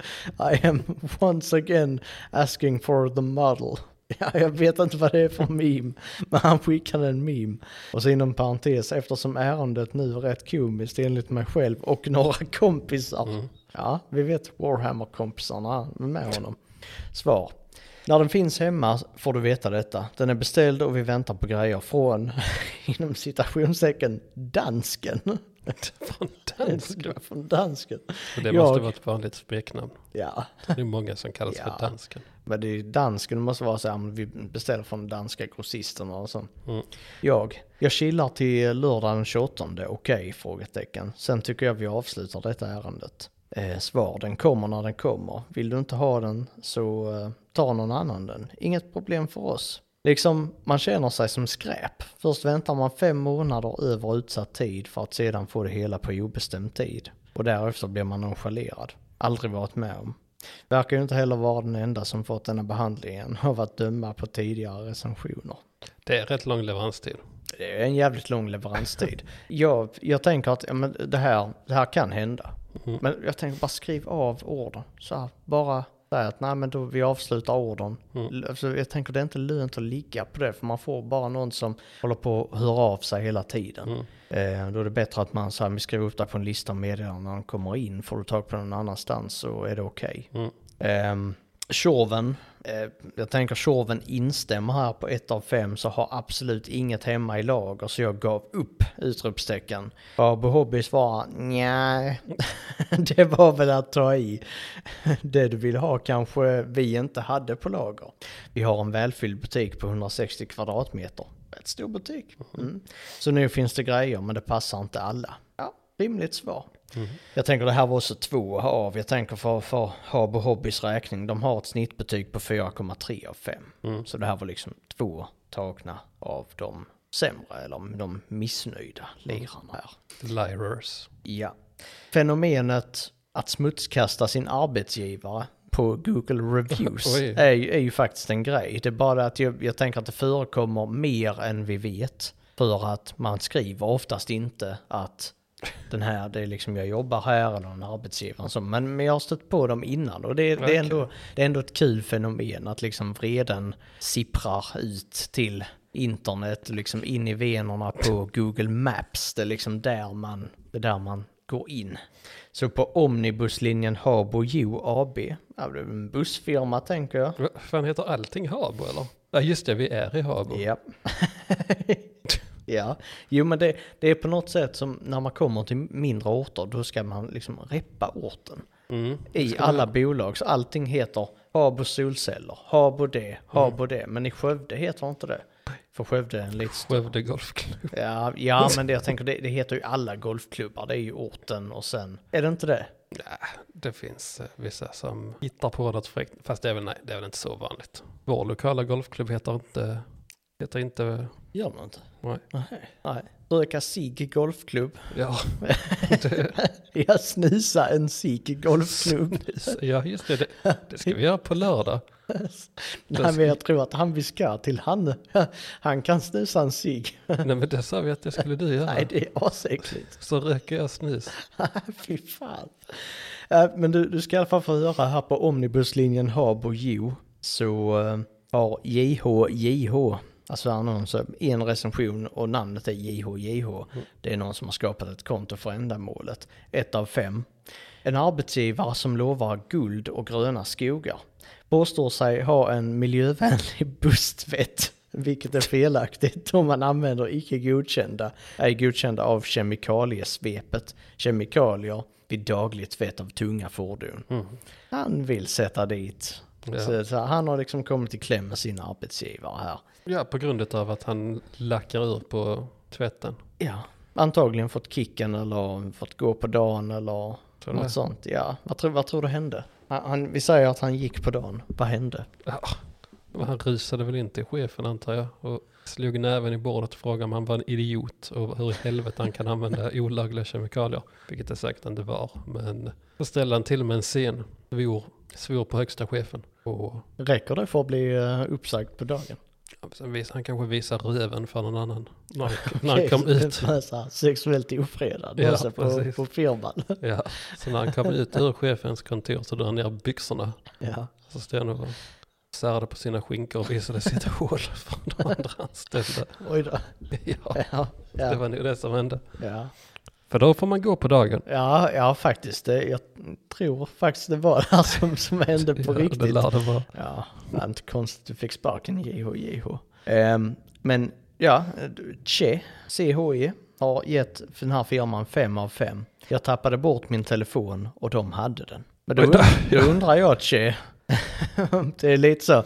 Speaker 2: I am once again asking for the model. Ja, jag vet inte vad det är för meme, men han skickade en meme. Och så inom parentes, eftersom ärendet nu är rätt komiskt enligt mig själv och några kompisar. Ja, vi vet Warhammer-kompisarna med honom. Svar. När den finns hemma får du veta detta. Den är beställd och vi väntar på grejer från, <laughs> inom citationstecken, dansken.
Speaker 1: Fan,
Speaker 2: <laughs> Det
Speaker 1: dans.
Speaker 2: ska vara från dansken.
Speaker 1: Det måste
Speaker 2: Jag-
Speaker 1: vara ett vanligt smeknamn.
Speaker 2: Ja,
Speaker 1: Det är många som kallas
Speaker 2: Ja.
Speaker 1: för dansken.
Speaker 2: men det är ju dansken, det måste vara så här, men vi beställer från danska grossisterna och så.
Speaker 1: Mm.
Speaker 2: Jag. Jag chillar till lördag den 28, okej? frågetecken. Sen tycker jag vi avslutar detta ärendet. Eh, svar, den kommer när den kommer. Vill du inte ha den så eh, ta någon annan den. Inget problem för oss. Liksom, man känner sig som skräp. Först väntar man fem månader över utsatt tid för att sedan få det hela på obestämd tid. Och därefter blir man nonchalerad. Aldrig varit med om. Verkar ju inte heller vara den enda som fått denna behandlingen av att döma på tidigare recensioner.
Speaker 1: Det är rätt lång leveranstid.
Speaker 2: Det är en jävligt lång leveranstid. jag, jag tänker att ja, men det, här, det här kan hända. Men jag tänker bara skriv av orden. Så här, bara säga att nej men då vi avslutar orden. L- Alltså, jag tänker det är inte lönt att ligga på det för man får bara någon som håller på att höra av sig hela tiden. Eh, då är det bättre att man så här, vi skriver upp det på en lista med meddelanden när de kommer in. Får du tag på någon annanstans så är det okej. Ehm, Tjorven, eh, jag tänker Tjorven instämmer här på ett av fem så har absolut inget hemma i lager så jag gav upp! Utropstecken. Abu Hobby svarar nej. <laughs> det var väl att ta i. <laughs> det du vill ha kanske vi inte hade på lager. Vi har en välfylld butik på 160 kvadratmeter. Rätt stor butik. Mm. Så nu finns det grejer men det passar inte alla. Ja, rimligt svar. Jag tänker det här var också två av. Jag tänker för, för Habo Hobbys räkning. De har ett snittbetyg på 4,3 av 5. Så det här var liksom två tagna av de sämre eller de missnöjda lirarna här.
Speaker 1: Lirers.
Speaker 2: Ja. Fenomenet att smutskasta sin arbetsgivare på Google Reviews
Speaker 1: <laughs> Oj.
Speaker 2: är, ju- är ju faktiskt en grej. Det är bara det att jag, jag tänker att det förekommer mer än vi vet. För att man skriver oftast inte att den här, det är liksom jag jobbar här eller en arbetsgivare. och Så, men, men jag har stött på dem innan och det, det,
Speaker 1: Okej.
Speaker 2: är ändå, det är ändå ett kul fenomen att liksom vreden sipprar ut till internet, liksom in i venerna på Google Maps. Det är liksom där man, det är där man går in. Så på omnibuslinjen Habo-Jo AB, ja, det är en bussfirma tänker jag.
Speaker 1: Va- Fan heter allting Habo eller? Ja just det, vi är i Habo.
Speaker 2: Ja. <laughs> ja, jo men det, det är på något sätt som när man kommer till mindre orter, då ska man liksom reppa orten.
Speaker 1: Mm.
Speaker 2: I alla bolag, så allting heter Habo solceller, Habo det, Habo det, men i Skövde heter inte det. För Skövde är en liten
Speaker 1: Skövde Golfklubb.
Speaker 2: Ja, ja men det jag tänker, det, det heter ju alla golfklubbar, det är ju orten och sen, är det inte det?
Speaker 1: Det finns eh, vissa som hittar på något fräckt. Fast det är väl, nej, det är väl inte så vanligt. Vår lokala golfklubb heter inte... Heter inte...
Speaker 2: Gör man inte?
Speaker 1: Nej.
Speaker 2: Nej. Nej. Röka cigg golfklubb. <laughs>
Speaker 1: Ja,
Speaker 2: Ja, snusa en cigg golfklubb.
Speaker 1: ja just det, det. Det ska vi göra på lördag.
Speaker 2: <laughs> Nej, men jag tror att han vi ska till han, <laughs> han kan snusa en cigg.
Speaker 1: Nej men det sa vi att det skulle du göra.
Speaker 2: Nej, det är asäckligt.
Speaker 1: Så röker jag snus.
Speaker 2: <laughs> Fy fan. Eh, Men du, du ska i alla fall få höra här på omnibuslinjen Habo-Jo så eh, har JHJH, alltså annonser, en recension och namnet är JHJH. Det är någon som har skapat ett konto för ändamålet. Ett av fem. En arbetsgivare som lovar guld och gröna skogar. Påstår sig ha en miljövänlig <laughs> busstvätt. Vilket är felaktigt om man använder icke godkända, är godkända av kemikaliesvepet, kemikalier vid daglig tvätt av tunga fordon. Han vill sätta dit.
Speaker 1: Ja.
Speaker 2: Så, så han har liksom kommit i kläm med sin arbetsgivare här.
Speaker 1: Ja, på grund av att han lackar ur på tvätten.
Speaker 2: Ja, antagligen fått kicken eller fått gå på dagen eller
Speaker 1: Tror du det?
Speaker 2: något sånt. Ja, vad tror, vad tror du hände? Han, han, vi säger att han gick på dagen. Vad hände?
Speaker 1: Ja. Han rusade väl in till chefen antar jag och slog näven i bordet och frågade om han var en idiot och hur i helvete han kan
Speaker 2: <laughs>
Speaker 1: använda olagliga kemikalier. Vilket det säkert inte var. Men så ställde han till med en scen. Svor, svor på högsta chefen. Och
Speaker 2: Räcker det för att bli eh, uppsagd på dagen?
Speaker 1: ja, sen vis, han kanske visar röven för någon annan när, han-
Speaker 2: <laughs>
Speaker 1: när han kom ut.
Speaker 2: Det var så här, sexuellt ofredad
Speaker 1: Ja,
Speaker 2: alltså på,
Speaker 1: precis.
Speaker 2: på firman.
Speaker 1: Ja. Så när han kom ut ur chefens kontor så drog han ner byxorna.
Speaker 2: Ja.
Speaker 1: Så stod han och särade på sina skinkor och
Speaker 2: <laughs>
Speaker 1: visade sitt hål för de andra anställda.
Speaker 2: Oj då.
Speaker 1: Ja,
Speaker 2: Ja,
Speaker 1: det
Speaker 2: ja,
Speaker 1: var nog det som hände.
Speaker 2: ja.
Speaker 1: För då får man gå på dagen.
Speaker 2: ja, ja faktiskt. Det, jag tror faktiskt det var det här som, som hände på
Speaker 1: Ja, Det
Speaker 2: riktigt.
Speaker 1: lär det vara.
Speaker 2: Ja, det var inte konstigt att du fick sparken JH, JH. Ehm, men ja, Che, CHE, har gett för den här firman fem av fem. Jag tappade bort min telefon och de hade den. Men då, då undrar jag Che, <laughs> det är lite så,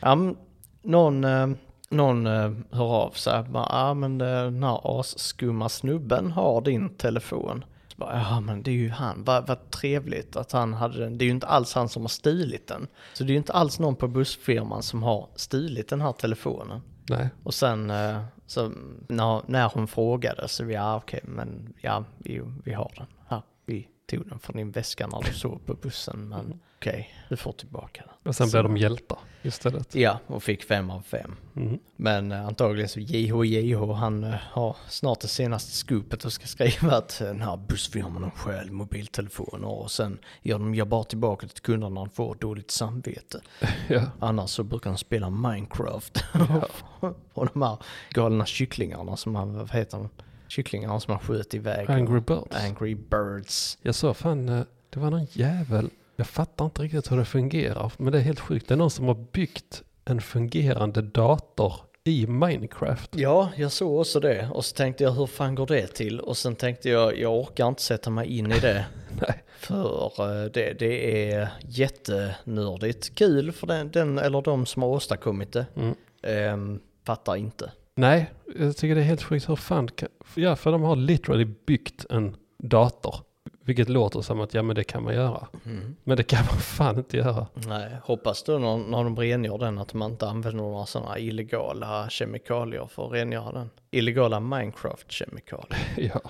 Speaker 2: ja, men någon, eh, någon eh, hör av sig, bara, ja men eh, den här asskumma snubben har din telefon. Så bara, ja men det är ju han, vad, vad trevligt att han hade den. Det är ju inte alls han som har stulit den. Så det är ju inte alls någon på bussfirman som har stulit den här telefonen.
Speaker 1: Nej,
Speaker 2: Och sen eh, så när, när hon frågade så vi, ja okej men ja vi, vi har den här. Vi tog den från din väska när du sov på bussen men okej, du får tillbaka den.
Speaker 1: och sen
Speaker 2: Så-
Speaker 1: blev de hjältar istället.
Speaker 2: Ja, och fick fem av fem.
Speaker 1: Mm.
Speaker 2: Men eh, antagligen så JH, JH, han eh, har snart det senaste scoopet och ska skriva att eh, den här bussfirman de stjäl mobiltelefoner och sen gör de jobbar tillbaka till kunderna när de får dåligt samvete.
Speaker 1: Ja.
Speaker 2: Annars så brukar de spela Minecraft. <laughs> och de här galna kycklingarna som han, vad heter de? Kycklingarna som han sköt iväg.
Speaker 1: Angry Birds.
Speaker 2: Angry Birds.
Speaker 1: Jag sa fan, eh, det var någon jävel. Jag fattar inte riktigt hur det fungerar, men det är helt sjukt. Det är någon som har byggt en fungerande dator i Minecraft.
Speaker 2: Ja, jag såg också det. Och så tänkte jag, hur fan går det till? Och sen tänkte jag, jag orkar inte sätta mig in i det.
Speaker 1: Nej,
Speaker 2: För eh, det, det är jättenördigt. Kul för den, den eller de som har åstadkommit det.
Speaker 1: Mm.
Speaker 2: Ehm, fattar inte.
Speaker 1: Nej jag tycker det är helt sjukt. Hur fan kan... Ja, för de har literally byggt en dator. Vilket låter som att ja, men det kan man göra. Men det kan man fan inte göra. <laughs>
Speaker 2: Nej, hoppas då när, när de rengör den att man inte använder några sådana illegala kemikalier för att rengöra den. Illegala Minecraft-kemikalier.
Speaker 1: Ja,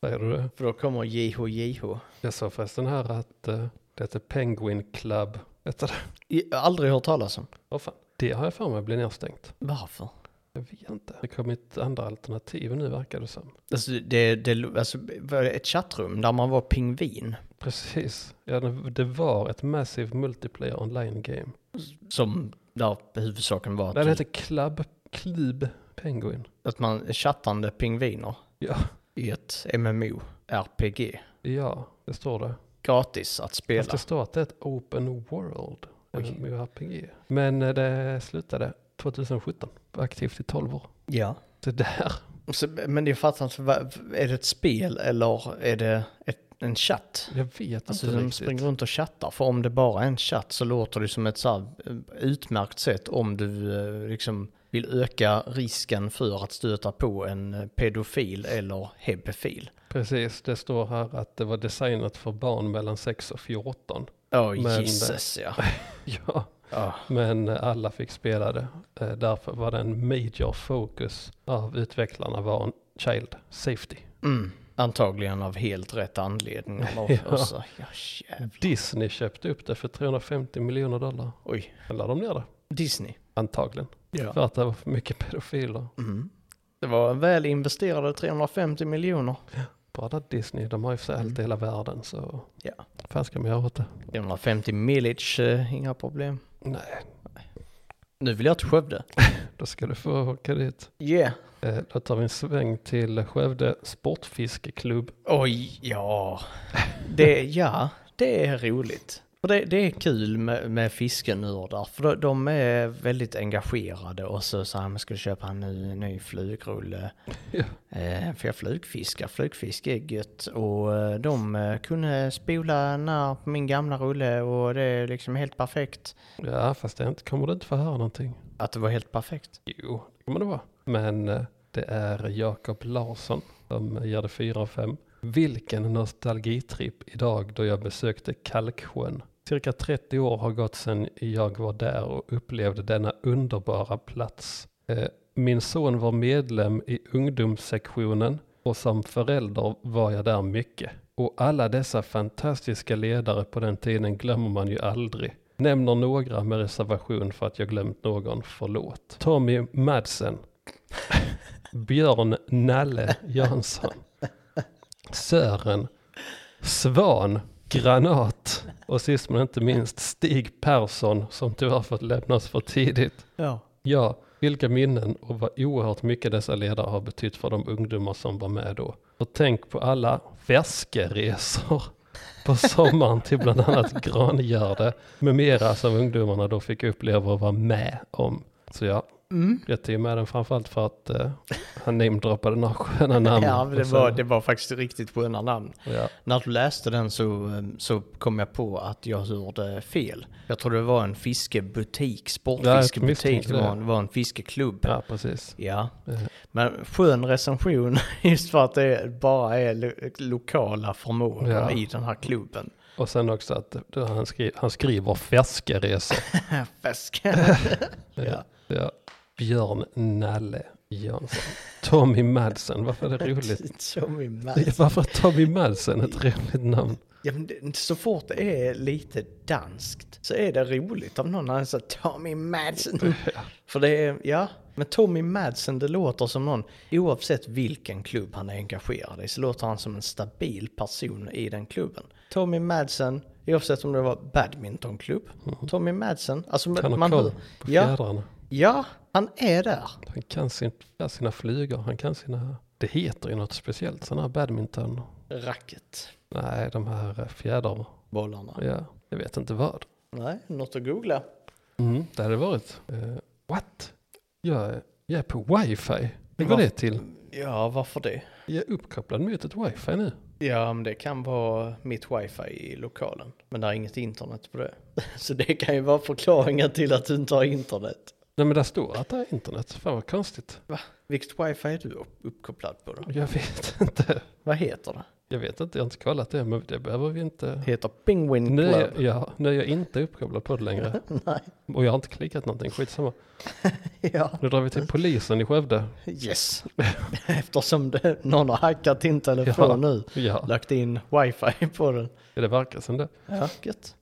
Speaker 1: säger du det?
Speaker 2: För då kommer JHJH.
Speaker 1: Jag sa förresten här att eh, det heter Penguin Club. Heter det?
Speaker 2: I- Aldrig hört talas om.
Speaker 1: Vad fan? Det har jag för mig blir nedstängt.
Speaker 2: Varför?
Speaker 1: Jag vet inte. Det kommer ett andra alternativ nu verkar det som.
Speaker 2: Alltså, det, det, alltså, var det ett chattrum där man var pingvin
Speaker 1: Precis. Ja, det det var ett massive multiplayer online game.
Speaker 2: som där huvudsaken var
Speaker 1: Den
Speaker 2: att,
Speaker 1: hette Club, Club Penguin.
Speaker 2: att man chattande pingviner
Speaker 1: Ja.
Speaker 2: i ett MMO-RPG.
Speaker 1: Ja, det står det.
Speaker 2: Gratis att spela.
Speaker 1: Fast det står att det är ett open world.
Speaker 2: Oj.
Speaker 1: MMORPG. Men eh, det slutade 2017. Var Aktivt i 12 år.
Speaker 2: Ja.
Speaker 1: Det där.
Speaker 2: Så, men jag fattar inte, vad- är det ett spel eller är det ett, en chatt?
Speaker 1: Jag vet
Speaker 2: Alltså
Speaker 1: inte
Speaker 2: de
Speaker 1: riktigt.
Speaker 2: springer runt och chattar, för om det bara är en chatt så låter det som ett så här eh, utmärkt sätt om du eh, liksom vill öka risken för att stöta på en eh, pedofil eller hebefil.
Speaker 1: Precis, det står här att det var designat för barn mellan 6 och 14.
Speaker 2: Åh,
Speaker 1: Men-
Speaker 2: Jesus ja.
Speaker 1: <laughs> Ja,
Speaker 2: Ja.
Speaker 1: men eh, alla fick spela det. Eh, Därför var det en major focus av utvecklarna var en child safety.
Speaker 2: Mm. Antagligen av helt rätt anledning.
Speaker 1: Ja.
Speaker 2: Och så, ja, jävlar.
Speaker 1: Disney köpte upp det för 350 miljoner dollar.
Speaker 2: Oj,
Speaker 1: Sen la de ner det,
Speaker 2: Disney.
Speaker 1: antagligen.
Speaker 2: Ja.
Speaker 1: För att det var för mycket pedofiler.
Speaker 2: Mm. Det var väl investerade 350 miljoner.
Speaker 1: Bara där Disney, de har ju för sig allt i hela världen så
Speaker 2: Ja.
Speaker 1: vad fan ska man göra åt det?
Speaker 2: 350 millage, eh, inga problem.
Speaker 1: Nej,
Speaker 2: Nu vill jag till Skövde.
Speaker 1: då ska du få åka dit.
Speaker 2: Yeah.
Speaker 1: Eh, Då tar vi en sväng till Skövde Sportfiskeklubb.
Speaker 2: Oj, ja. Det, ja, det är roligt. Och det, det är kul med, med fiskenördar, för de, de är väldigt engagerade och så så här, man skulle köpa en ny, ny flugrulle.
Speaker 1: Ja.
Speaker 2: Eh, för jag flugfiskar, flugfisk är gött. Och eh, de eh, kunde spola när på min gamla rulle och det är liksom helt perfekt.
Speaker 1: Ja, fast det är inte, kommer du inte få höra någonting.
Speaker 2: Att det var helt perfekt.
Speaker 1: Jo, det kommer det vara. Men eh, det är Jakob Larsson som ger det 4 av 5. Vilken nostalgitripp idag då jag besökte Kalksjön. Cirka 30 år har gått sedan jag var där och upplevde denna underbara plats. Eh, Min son var medlem i ungdomssektionen och som förälder var jag där mycket. Och alla dessa fantastiska ledare på den tiden glömmer man ju aldrig. Nämner några med reservation för att jag glömt någon, förlåt. Tommy Madsen. Björn Nalle Jansson. Sören. Svan. Granat. Och sist men inte minst Stig Persson som tyvärr fått lämnas för tidigt.
Speaker 2: Ja.
Speaker 1: Ja, vilka minnen och vad oerhört mycket dessa ledare har betytt för de ungdomar som var med då. Och tänk på alla väskeresor på sommaren till bland annat Grangärde med mera som ungdomarna då fick uppleva och vara med om. Så ja,
Speaker 2: Mm.
Speaker 1: jag tog med den framförallt för att eh, han namedroppade några sköna namn.
Speaker 2: Ja, men det
Speaker 1: Och så-
Speaker 2: var, det var faktiskt riktigt sköna namn.
Speaker 1: ja,
Speaker 2: När du läste den så, eh, så kom jag på att jag hörde fel. Jag tror det var en fiskebutik,
Speaker 1: Ja, jag misstänkte
Speaker 2: sportfiskebutik, det
Speaker 1: det.
Speaker 2: var en, var en fiskeklubb. Ja.
Speaker 1: ja, precis. Eh.
Speaker 2: Men skön recension <laughs> just för att det bara är lo lokala förmågor
Speaker 1: Ja.
Speaker 2: i den här klubben. <laughs>
Speaker 1: Och sen också att det- han, skri han skriver väskeresor.
Speaker 2: Fisk.
Speaker 1: <laughs> Ja. ja. Björn Nalle Jansson. Tommy Madsen, varför är det roligt?
Speaker 2: Som i
Speaker 1: Ja,
Speaker 2: mass.
Speaker 1: Varför är Tommy Madsen ett roligt namn?
Speaker 2: Ja, men det, så fort det är lite danskt så är det roligt av någon annan så Tommy Madsen. För det är, ja. Men Tommy Madsen det låter som någon, oavsett vilken klubb han är engagerad i så låter han som en stabil person i den klubben. Tommy Madsen, oavsett om det var badmintonklubb, Tommy Madsen, alltså
Speaker 1: Mm. Han har
Speaker 2: man
Speaker 1: koll
Speaker 2: hör,
Speaker 1: på
Speaker 2: ja,
Speaker 1: fjädrarna.
Speaker 2: ja, han är där.
Speaker 1: Han kan sin, ja, sina flugor, han kan sina... Det heter ju något speciellt, sådana här badminton.
Speaker 2: Racket,
Speaker 1: Nej, de här eh, fjädrar.
Speaker 2: bollarna.
Speaker 1: Ja, jag vet inte vad.
Speaker 2: Nej, något att googla.
Speaker 1: Mm, det hade varit... eh, what? Jag är, jag är på wifi. Vad var
Speaker 2: Varför-
Speaker 1: det till?
Speaker 2: Ja, varför det?
Speaker 1: Jag är uppkopplad mot ett wifi nu.
Speaker 2: Ja, men det kan vara mitt wifi i lokalen. Men det är inget internet på det. <laughs> Så det kan ju vara förklaringen till att du inte har internet.
Speaker 1: Nej, men där står att det är internet. Fan vad konstigt.
Speaker 2: Vilket wifi är du upp- uppkopplad på då?
Speaker 1: Jag vet <laughs> inte.
Speaker 2: Vad heter det?
Speaker 1: Jag vet inte, jag har inte kollat det, men det behöver vi inte...
Speaker 2: Heter Penguin
Speaker 1: Nu är,
Speaker 2: Club?
Speaker 1: jag, ja, nu är jag inte uppkopplad på det längre.
Speaker 2: <laughs> Nej.
Speaker 1: Och jag har inte klickat någonting, skitsamma.
Speaker 2: <laughs> Ja.
Speaker 1: Nu drar vi till polisen i Skövde.
Speaker 2: Yes. <laughs> Eftersom det, någon har hackat din telefon
Speaker 1: Ja.
Speaker 2: nu.
Speaker 1: Ja,
Speaker 2: Lagt in wifi på den.
Speaker 1: det verkar som det.
Speaker 2: Ja, gött.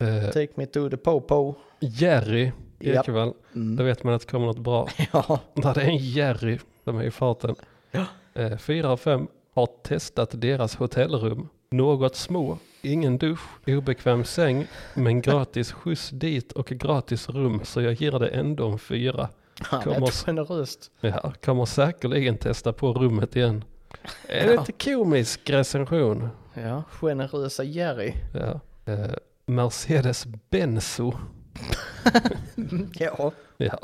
Speaker 1: Eh,
Speaker 2: Take me to the popo.
Speaker 1: Jerry
Speaker 2: Japp.
Speaker 1: Ekvall, då
Speaker 2: Mm.
Speaker 1: vet man att det kommer något bra. <laughs>
Speaker 2: Ja,
Speaker 1: När det är en Jerry som är i farten.
Speaker 2: Ja.
Speaker 1: Eh, Fyra av fem har testat deras hotellrum. Något små, ingen dusch, obekväm säng, men gratis skjuts dit och gratis rum så jag ger det ändå en fyra.
Speaker 2: han är
Speaker 1: Kommer-
Speaker 2: ett generöst.
Speaker 1: Ja, kommer säkerligen testa på rummet igen. Är det
Speaker 2: Ja.
Speaker 1: inte komisk recension?
Speaker 2: Ja, generösa Jerry.
Speaker 1: Ja. Eh, Mercedes Benzo.
Speaker 2: Ja,
Speaker 1: Ja.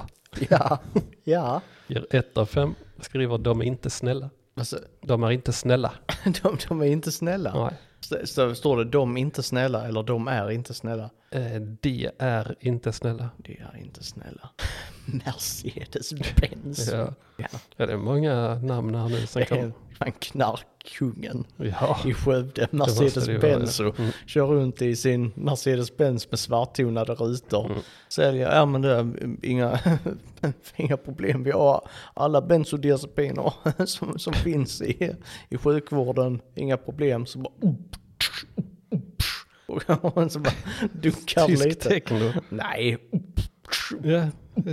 Speaker 2: ja, ja.
Speaker 1: Ger ett av fem. Skriver de är inte snälla.
Speaker 2: Alltså,
Speaker 1: De är inte snälla.
Speaker 2: <laughs> de, de är inte snälla.
Speaker 1: Nej.
Speaker 2: Så, så står det de inte snälla eller de är inte snälla.
Speaker 1: Eh, de är inte snälla.
Speaker 2: De är inte snälla. <laughs> Mercedes-Benz.
Speaker 1: Ja.
Speaker 2: Ja.
Speaker 1: ja, det är många namn här nu som
Speaker 2: Det är
Speaker 1: kom.
Speaker 2: fan knarkkungen
Speaker 1: Ja,
Speaker 2: i Skövde.
Speaker 1: måste det vara,
Speaker 2: Mercedes-Benz
Speaker 1: ja.
Speaker 2: och
Speaker 1: Mm.
Speaker 2: kör runt i sin Mercedes-Benz med svarttonade rutor.
Speaker 1: Mm.
Speaker 2: Säljer, ja men det är mm, inga, <laughs> inga problem. Vi har alla bensodiazepiner <laughs> som, som finns i, i sjukvården. Inga problem. Så bara... <laughs> Och så bara dunkar
Speaker 1: tysk
Speaker 2: lite.
Speaker 1: techno.
Speaker 2: Nej,
Speaker 1: Ja,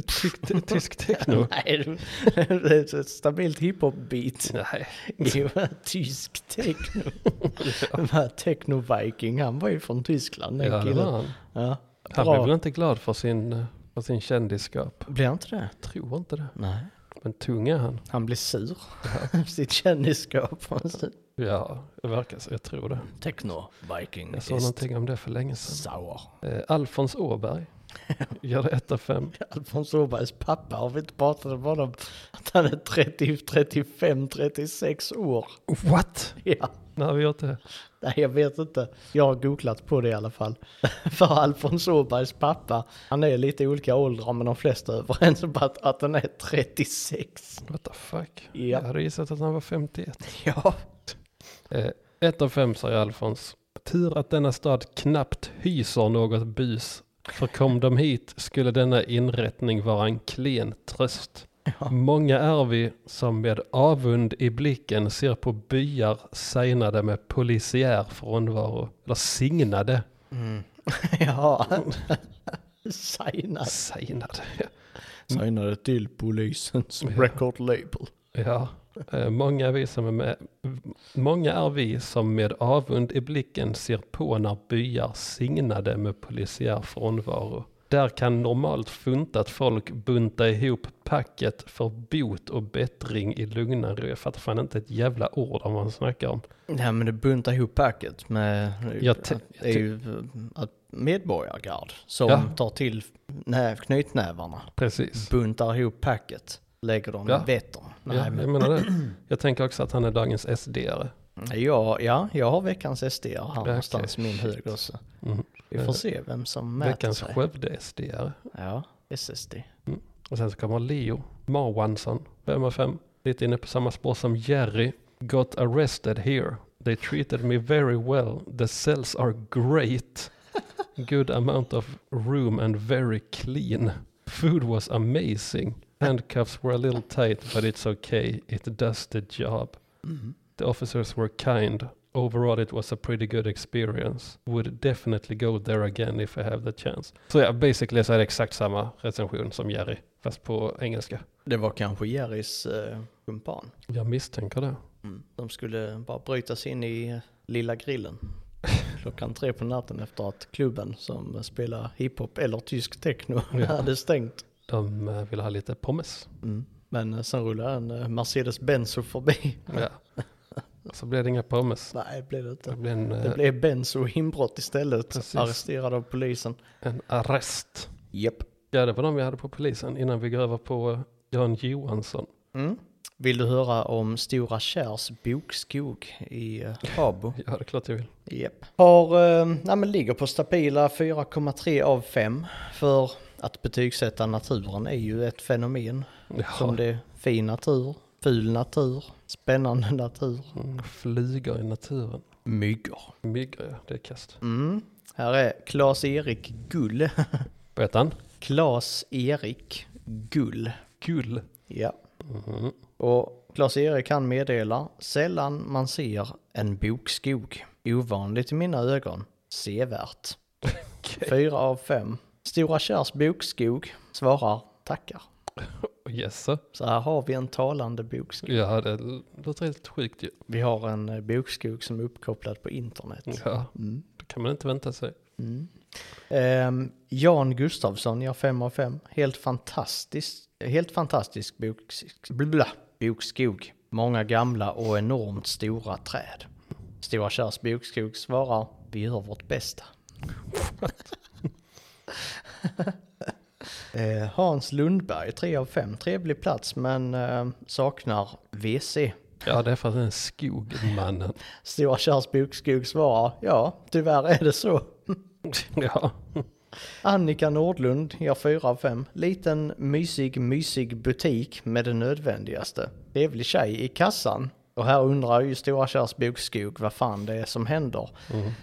Speaker 1: tysk, tysk techno.
Speaker 2: <laughs> Nej, det är ett stabilt hiphop-beat.
Speaker 1: Nej,
Speaker 2: Det var tysk techno.
Speaker 1: <laughs>
Speaker 2: Den här techno-viking, han var ju från Tyskland den
Speaker 1: ja, det var
Speaker 2: killen.
Speaker 1: han.
Speaker 2: Ja.
Speaker 1: Han
Speaker 2: Bra.
Speaker 1: blev väl inte glad för sin, eh, för sin kändisskap.
Speaker 2: Blir han inte det?
Speaker 1: Tror inte det.
Speaker 2: Nej.
Speaker 1: Men tung är han.
Speaker 2: Han blir sur. <laughs> Sitt kändisskap.
Speaker 1: Ja, det verkar så. Jag tror det.
Speaker 2: Techno-viking
Speaker 1: Jag såg någonting om det för länge sedan.
Speaker 2: sour.
Speaker 1: Eh, Alfons Åberg gör det 1 av 5.
Speaker 2: Alfons Åbergs pappa, har vi inte pratat om honom? Att han är 30, 35, 36 år.
Speaker 1: What?
Speaker 2: Ja.
Speaker 1: När har vi gjort det?
Speaker 2: <laughs> Nej, jag vet inte. Jag har googlat på det i alla fall. <laughs> För Alfons Åbergs pappa, han är lite i olika åldrar men de flesta är överens om att, att han är 36.
Speaker 1: What the fuck?
Speaker 2: Ja.
Speaker 1: Jag hade gissat att han var 51.
Speaker 2: <laughs> Ja.
Speaker 1: Eh, 1 av 5 säger Alfons. Tur att denna stad knappt hyser något bus. För kom de hit skulle denna inrättning vara en klen tröst. Många är vi som med avund i blicken ser på byar signade med polisiär frånvaro. Eller signade.
Speaker 2: <laughs> Ja. <laughs> Signad.
Speaker 1: Signade.
Speaker 2: Signade till polisens record label.
Speaker 1: <laughs> Ja, eh, många är, vi som är med, många är vi som med avund i blicken ser på när byar signade med polisiär frånvaro. Där kan normalt funtat folk bunta ihop packet för bot och bättring i lugna ro. Jag fattar fan inte ett jävla ord om vad han snackar om.
Speaker 2: Nej men det buntar ihop packet med eh,
Speaker 1: Jag te-
Speaker 2: att, det är ju, att medborgargard som
Speaker 1: Ja.
Speaker 2: tar till näv, knytnävarna.
Speaker 1: Precis.
Speaker 2: Buntar ihop packet, lägger dem
Speaker 1: Ja.
Speaker 2: i vetter. Nej,
Speaker 1: ja,
Speaker 2: men-
Speaker 1: jag menar det. Jag tänker också att han är dagens SD-are.
Speaker 2: Ja, ja, jag har veckans SD här någonstans i
Speaker 1: Okej,
Speaker 2: min
Speaker 1: shit.
Speaker 2: hög också.
Speaker 1: Mm.
Speaker 2: Vi får se vem som mäter
Speaker 1: Eh, Veckans
Speaker 2: sig.
Speaker 1: Skövde-SD-are.
Speaker 2: Ja, SSD.
Speaker 1: Och sen så kommer Leo Marwansson, 5 av 5. Lite inne på samma spår som Jerry. Got arrested here. They treated me very well. The cells are great. Good amount of room and very clean. Food was amazing. Handcuffs were a little tight but it's okay. It does the job. The officers were kind. Overall it was a pretty good experience. Would definitely go there again if I have the chance. Så ja, basically så är det exakt samma recension som Jerry, fast på engelska.
Speaker 2: Det var kanske Jerrys eh, kumpan.
Speaker 1: Jag misstänker det.
Speaker 2: Mm. De skulle bara bryta sig in i eh, lilla grillen. Klockan tre på natten efter att klubben som spelar hiphop eller tysk techno <laughs>
Speaker 1: Ja.
Speaker 2: hade stängt.
Speaker 1: De eh, vill ha lite pommes.
Speaker 2: Men eh, sen rullade en eh, Mercedes Benzo förbi.
Speaker 1: Ja. <laughs> Så blev det inga
Speaker 2: <laughs>
Speaker 1: pommes.
Speaker 2: Nej, det blev det
Speaker 1: Det
Speaker 2: inte.
Speaker 1: blev en,
Speaker 2: Det
Speaker 1: eh,
Speaker 2: blev Benzo inbrott istället.
Speaker 1: Precis.
Speaker 2: Arresterad av polisen.
Speaker 1: eh, en arrest.
Speaker 2: Japp.
Speaker 1: Ja, det var de vi hade på polisen innan vi går över på eh, Jan Johansson.
Speaker 2: Mm. Vill du höra om Stora Kärs bokskog i eh, Habo?
Speaker 1: Ja, det är klart jag vill.
Speaker 2: Japp. Har, eh, nej men ligger på stabila 4,3 av 5. För att betygsätta naturen är ju ett fenomen. Som
Speaker 1: Ja.
Speaker 2: det är fin natur, ful natur, spännande natur.
Speaker 1: Mm, Flugor i naturen.
Speaker 2: Myggor.
Speaker 1: Myggor, ja. Det är kast.
Speaker 2: Mm. Här är Klas-Erik Gull. <laughs>
Speaker 1: Vad heter han?
Speaker 2: Klas-Erik Gull.
Speaker 1: Gull.
Speaker 2: Ja.
Speaker 1: Mhm.
Speaker 2: Och Klas-Erik kan meddela, sällan man ser en bokskog. Ovanligt i mina ögon. Sevärt.
Speaker 1: Okej.
Speaker 2: Fyra av fem. Stora Kärs bokskog svarar tackar.
Speaker 1: Yes. sir.
Speaker 2: Så här har vi en talande bokskog.
Speaker 1: Ja, det låter helt sjukt ju.
Speaker 2: Vi har en eh, bokskog som är uppkopplad på internet.
Speaker 1: Ja,
Speaker 2: Mm.
Speaker 1: det kan man inte vänta sig.
Speaker 2: Mm. Ehm, Jan Gustafsson gör 5 av 5. Helt fantastisk, helt fantastisk boks, bla, bokskog. Många gamla och enormt stora träd. Stora Kärs bokskog svarar, vi gör vårt bästa. <laughs> Eh, Hans Lundberg, 3 av 5. Trevlig plats men eh, saknar WC.
Speaker 1: Ja, det är för att den är skogmannen.
Speaker 2: Stora Kärs bokskog svarar, ja tyvärr är det så.
Speaker 1: <laughs> Ja,
Speaker 2: Annika Nordlund gör 4 av 5. Liten, mysig, mysig butik med det nödvändigaste. Trevlig tjej i kassan. Och här undrar ju Stora Kärs bokskog vad fan det är som händer.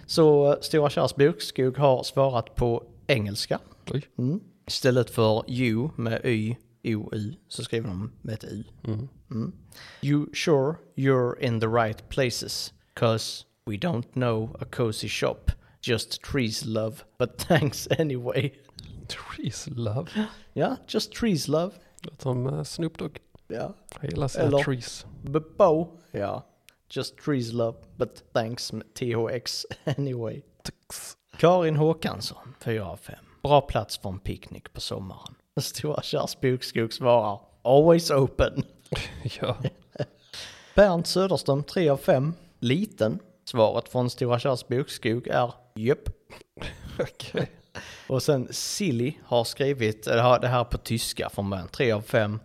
Speaker 2: Så eh, Stora Kärs bokskog har svarat på engelska.
Speaker 1: oj.
Speaker 2: Mm. Istället för you med y, o, y så skriver de med ett y. Mm. You sure you're in the right places? Cause we don't know a cozy shop. Just trees love, but thanks anyway.
Speaker 1: Trees love.
Speaker 2: Ja, just trees love.
Speaker 1: Låter som eh, Snoop Dogg.
Speaker 2: Ja.
Speaker 1: Jag gillar sina
Speaker 2: Eller-
Speaker 1: trees. <laughs>
Speaker 2: But bow. Ja. Just trees love, but thanks med THX <laughs> anyway.
Speaker 1: Tix.
Speaker 2: Karin Håkansson, 4 av 5. Bra plats för en picknick på sommaren. <laughs> Stora Kärs bokskog svarar Always open.
Speaker 1: Ja,
Speaker 2: Bernt Söderström, 3 av 5. Liten. Svaret från Stora Kärs bokskog är Jöpp.
Speaker 1: okej.
Speaker 2: Och sen Silly har skrivit eller har det här på tyska från början, 3 av 5.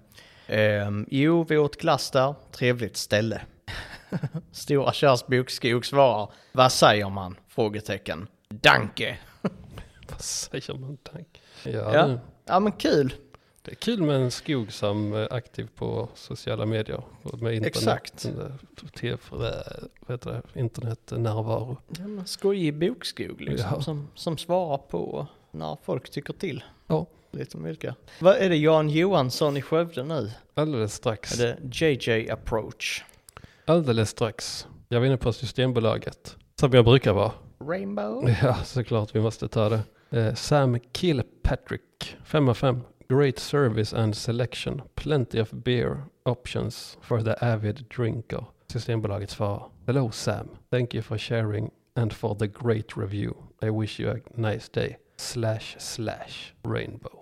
Speaker 2: Ehm, jo, vi åt glass där. Trevligt ställe. <laughs> Stora Kärs bokskog svarar Vad säger man? Frågetecken. Danke.
Speaker 1: Vad säger man tack? Ja,
Speaker 2: Ja.
Speaker 1: det-
Speaker 2: Ja men kul.
Speaker 1: det är kul med en skog som är aktiv på sociala medier. och Med internet,
Speaker 2: Exakt.
Speaker 1: eh, TV, eh, vad heter det? Internetnärvaro.
Speaker 2: Ja, men skojig bokskog liksom,
Speaker 1: Ja.
Speaker 2: som, som svarar på när folk tycker till.
Speaker 1: Ja,
Speaker 2: Lite om vilka. Vad är det Jan Johansson i Skövde nu?
Speaker 1: alldeles strax.
Speaker 2: Är det JJ Approach?
Speaker 1: Alldeles strax. Jag var inne på Systembolaget. Som jag brukar vara.
Speaker 2: Rainbow?
Speaker 1: <laughs> Ja, såklart vi måste ta det. Eh, Sam Kilpatrick, 5 av 5. Great service and selection. Plenty of beer options for the avid drinker. Systembolaget svarar. Hello Sam. Thank you for sharing and for the great review. I wish you a nice day. Slash slash rainbow.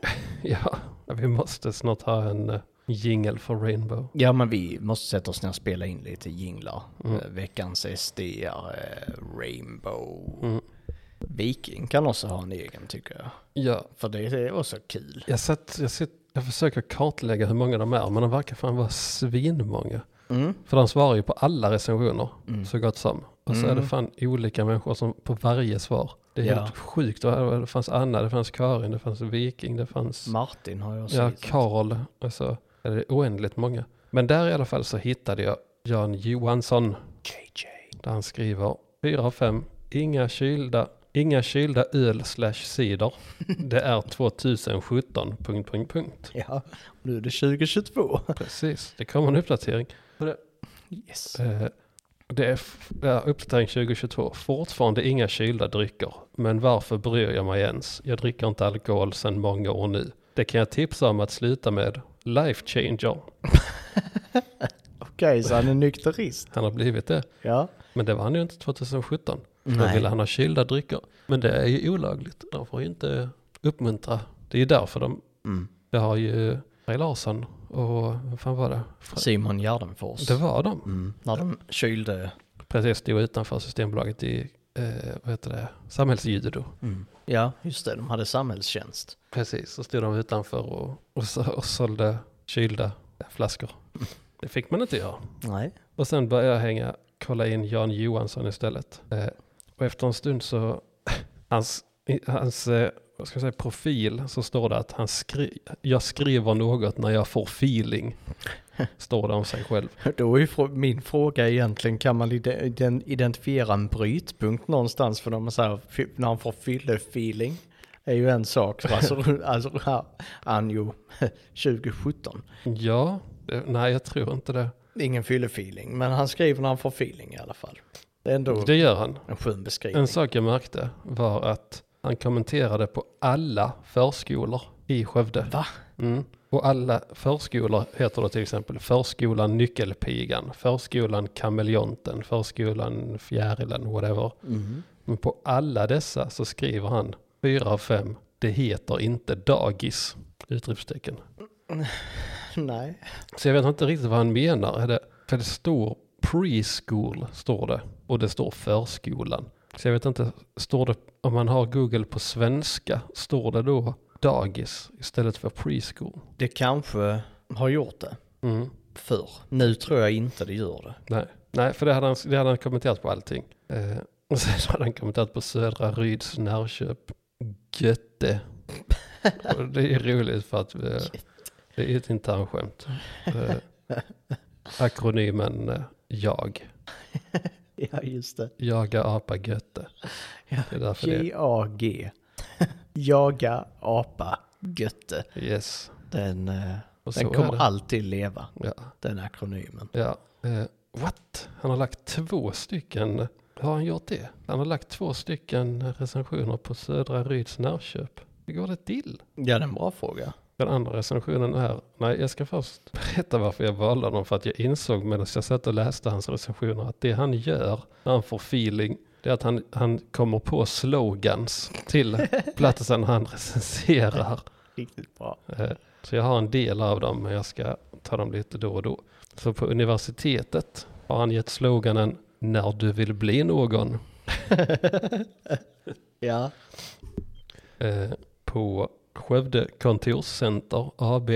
Speaker 1: <laughs> ja, vi måste snart ha en eh, jingle för rainbow.
Speaker 2: Ja, men vi måste sätta oss ner och spela in lite jinglar.
Speaker 1: Mm.
Speaker 2: Eh, Veckans SD, eh, Rainbow.
Speaker 1: Mm.
Speaker 2: Viking kan också ha en egen tycker jag.
Speaker 1: Ja,
Speaker 2: För det är också kul.
Speaker 1: jag, satt, jag, satt, jag försöker kartlägga hur många de är, men de verkar fan vara svinmånga.
Speaker 2: Mm.
Speaker 1: För de svarar ju på alla recensioner,
Speaker 2: Mm.
Speaker 1: så gott som. Och så är
Speaker 2: Mm.
Speaker 1: det fan olika människor som på varje svar. Det är
Speaker 2: Ja.
Speaker 1: helt sjukt. Och här- Det fanns Anna, det fanns Karin, det fanns Viking, det fanns
Speaker 2: Martin har jag också.
Speaker 1: ja,
Speaker 2: gissat.
Speaker 1: Karl. Alltså, det är oändligt många. Men där i alla fall så hittade jag Jan Johansson,
Speaker 2: JJ.
Speaker 1: där han skriver 4 av 5, inga kylda, inga kylda öl slash
Speaker 2: <laughs>
Speaker 1: cider. Det är 2017, punkt, punkt, punkt.
Speaker 2: Ja, nu är det 2022.
Speaker 1: Precis, det kommer en uppdatering.
Speaker 2: Yes.
Speaker 1: Eh, Det är f- ja, uppdatering 2022. Fortfarande inga kylda drycker. Men varför bryr jag mig ens? Jag dricker inte alkohol sedan många år nu. Det kan jag tipsa om att sluta med. Life changer.
Speaker 2: Okej, så han är nykterist.
Speaker 1: Han har blivit det.
Speaker 2: Ja.
Speaker 1: Men det var han ju inte 2017. Då
Speaker 2: Nej.
Speaker 1: ville han ha kylda drycker. Men det är ju olagligt. De får ju inte uppmuntra. Det är ju därför de...
Speaker 2: Mm.
Speaker 1: Det har ju Ray Larsson och vad fan var det? Fre-
Speaker 2: Simon Gärdenfors.
Speaker 1: Det var de.
Speaker 2: Mm. När de kylde.
Speaker 1: Precis, stod utanför Systembolaget i, eh, vad heter det, samhällsjudo.
Speaker 2: Ja, just det. De hade samhällstjänst.
Speaker 1: Precis, så stod de utanför och, och, så, och sålde kylda flaskor. Det fick man inte göra.
Speaker 2: Nej.
Speaker 1: Och sen började jag hänga, kolla in Jan Johansson istället. Eh, och efter en stund så, <laughs> hans, i- hans eh, vad ska jag säga, profil, så står det att han skri, jag skriver något när jag får feeling. Står det om sig själv.
Speaker 2: <laughs> Då är ju frå- min fråga egentligen, kan man ide- iden- identifiera en brytpunkt någonstans? För när man, så här, fy- när man får fyllefeeling är ju en sak. Så <laughs> Alltså, alltså här, <laughs> anjo 2017.
Speaker 1: Ja, det, nej jag tror inte det.
Speaker 2: Ingen fyllefeeling, men han skriver när han får feeling i alla fall. Det är ändå
Speaker 1: Det gör han.
Speaker 2: en skön beskrivning.
Speaker 1: En sak jag märkte var att Han kommenterade på alla förskolor i Skövde.
Speaker 2: Va?
Speaker 1: Mm. Och alla förskolor heter då till exempel Förskolan Nyckelpigan, Förskolan Kameleonten, Förskolan Fjärilen, whatever.
Speaker 2: Mm.
Speaker 1: Men på alla dessa så skriver han fyra av fem. det heter inte dagis! Utropstecken.
Speaker 2: <laughs> Nej.
Speaker 1: Så jag vet inte riktigt vad han menar. Är det, för det står preschool, står det. Och det står förskolan. Så jag vet inte, står det, om man har Google på svenska, står det då dagis istället för preschool?
Speaker 2: Det kanske har gjort det
Speaker 1: Mm.
Speaker 2: förr. Nu tror jag inte det gör det.
Speaker 1: Nej. Nej, för det hade han, det hade han kommenterat på allting. Eh, och sen <laughs> hade han kommenterat på Södra Ryds närköp. Götte. och det är roligt för att eh, det är ett internskämt. Eh, akronymen eh, JAG.
Speaker 2: Ja, just det.
Speaker 1: Jaga apa götte.
Speaker 2: Ja,
Speaker 1: Det är därför det
Speaker 2: J-A-G. Jaga apa götte.
Speaker 1: är yes.
Speaker 2: Den, eh,
Speaker 1: Och så
Speaker 2: den
Speaker 1: är
Speaker 2: kommer
Speaker 1: det.
Speaker 2: alltid leva,
Speaker 1: Ja.
Speaker 2: den akronymen.
Speaker 1: ja. Eh, what? Han har lagt två stycken. Har han gjort det? Han har lagt två stycken recensioner på Södra Ryds närköp. Hur går det till?
Speaker 2: Ja, det är en bra fråga.
Speaker 1: Den andra recensionen är, nej jag ska först berätta varför jag valde honom för att jag insåg medan jag satt och läste hans recensioner att det han gör när han får feeling det är att han, han kommer på slogans
Speaker 2: <laughs>
Speaker 1: till platsen han recenserar.
Speaker 2: Riktigt <laughs> bra.
Speaker 1: Eh, Så jag har en del av dem men jag ska ta dem lite då och då. Så på universitetet har han gett sloganen när du vill bli någon.
Speaker 2: Ja. <laughs>
Speaker 1: Eh, på Skövde kontorscenter AB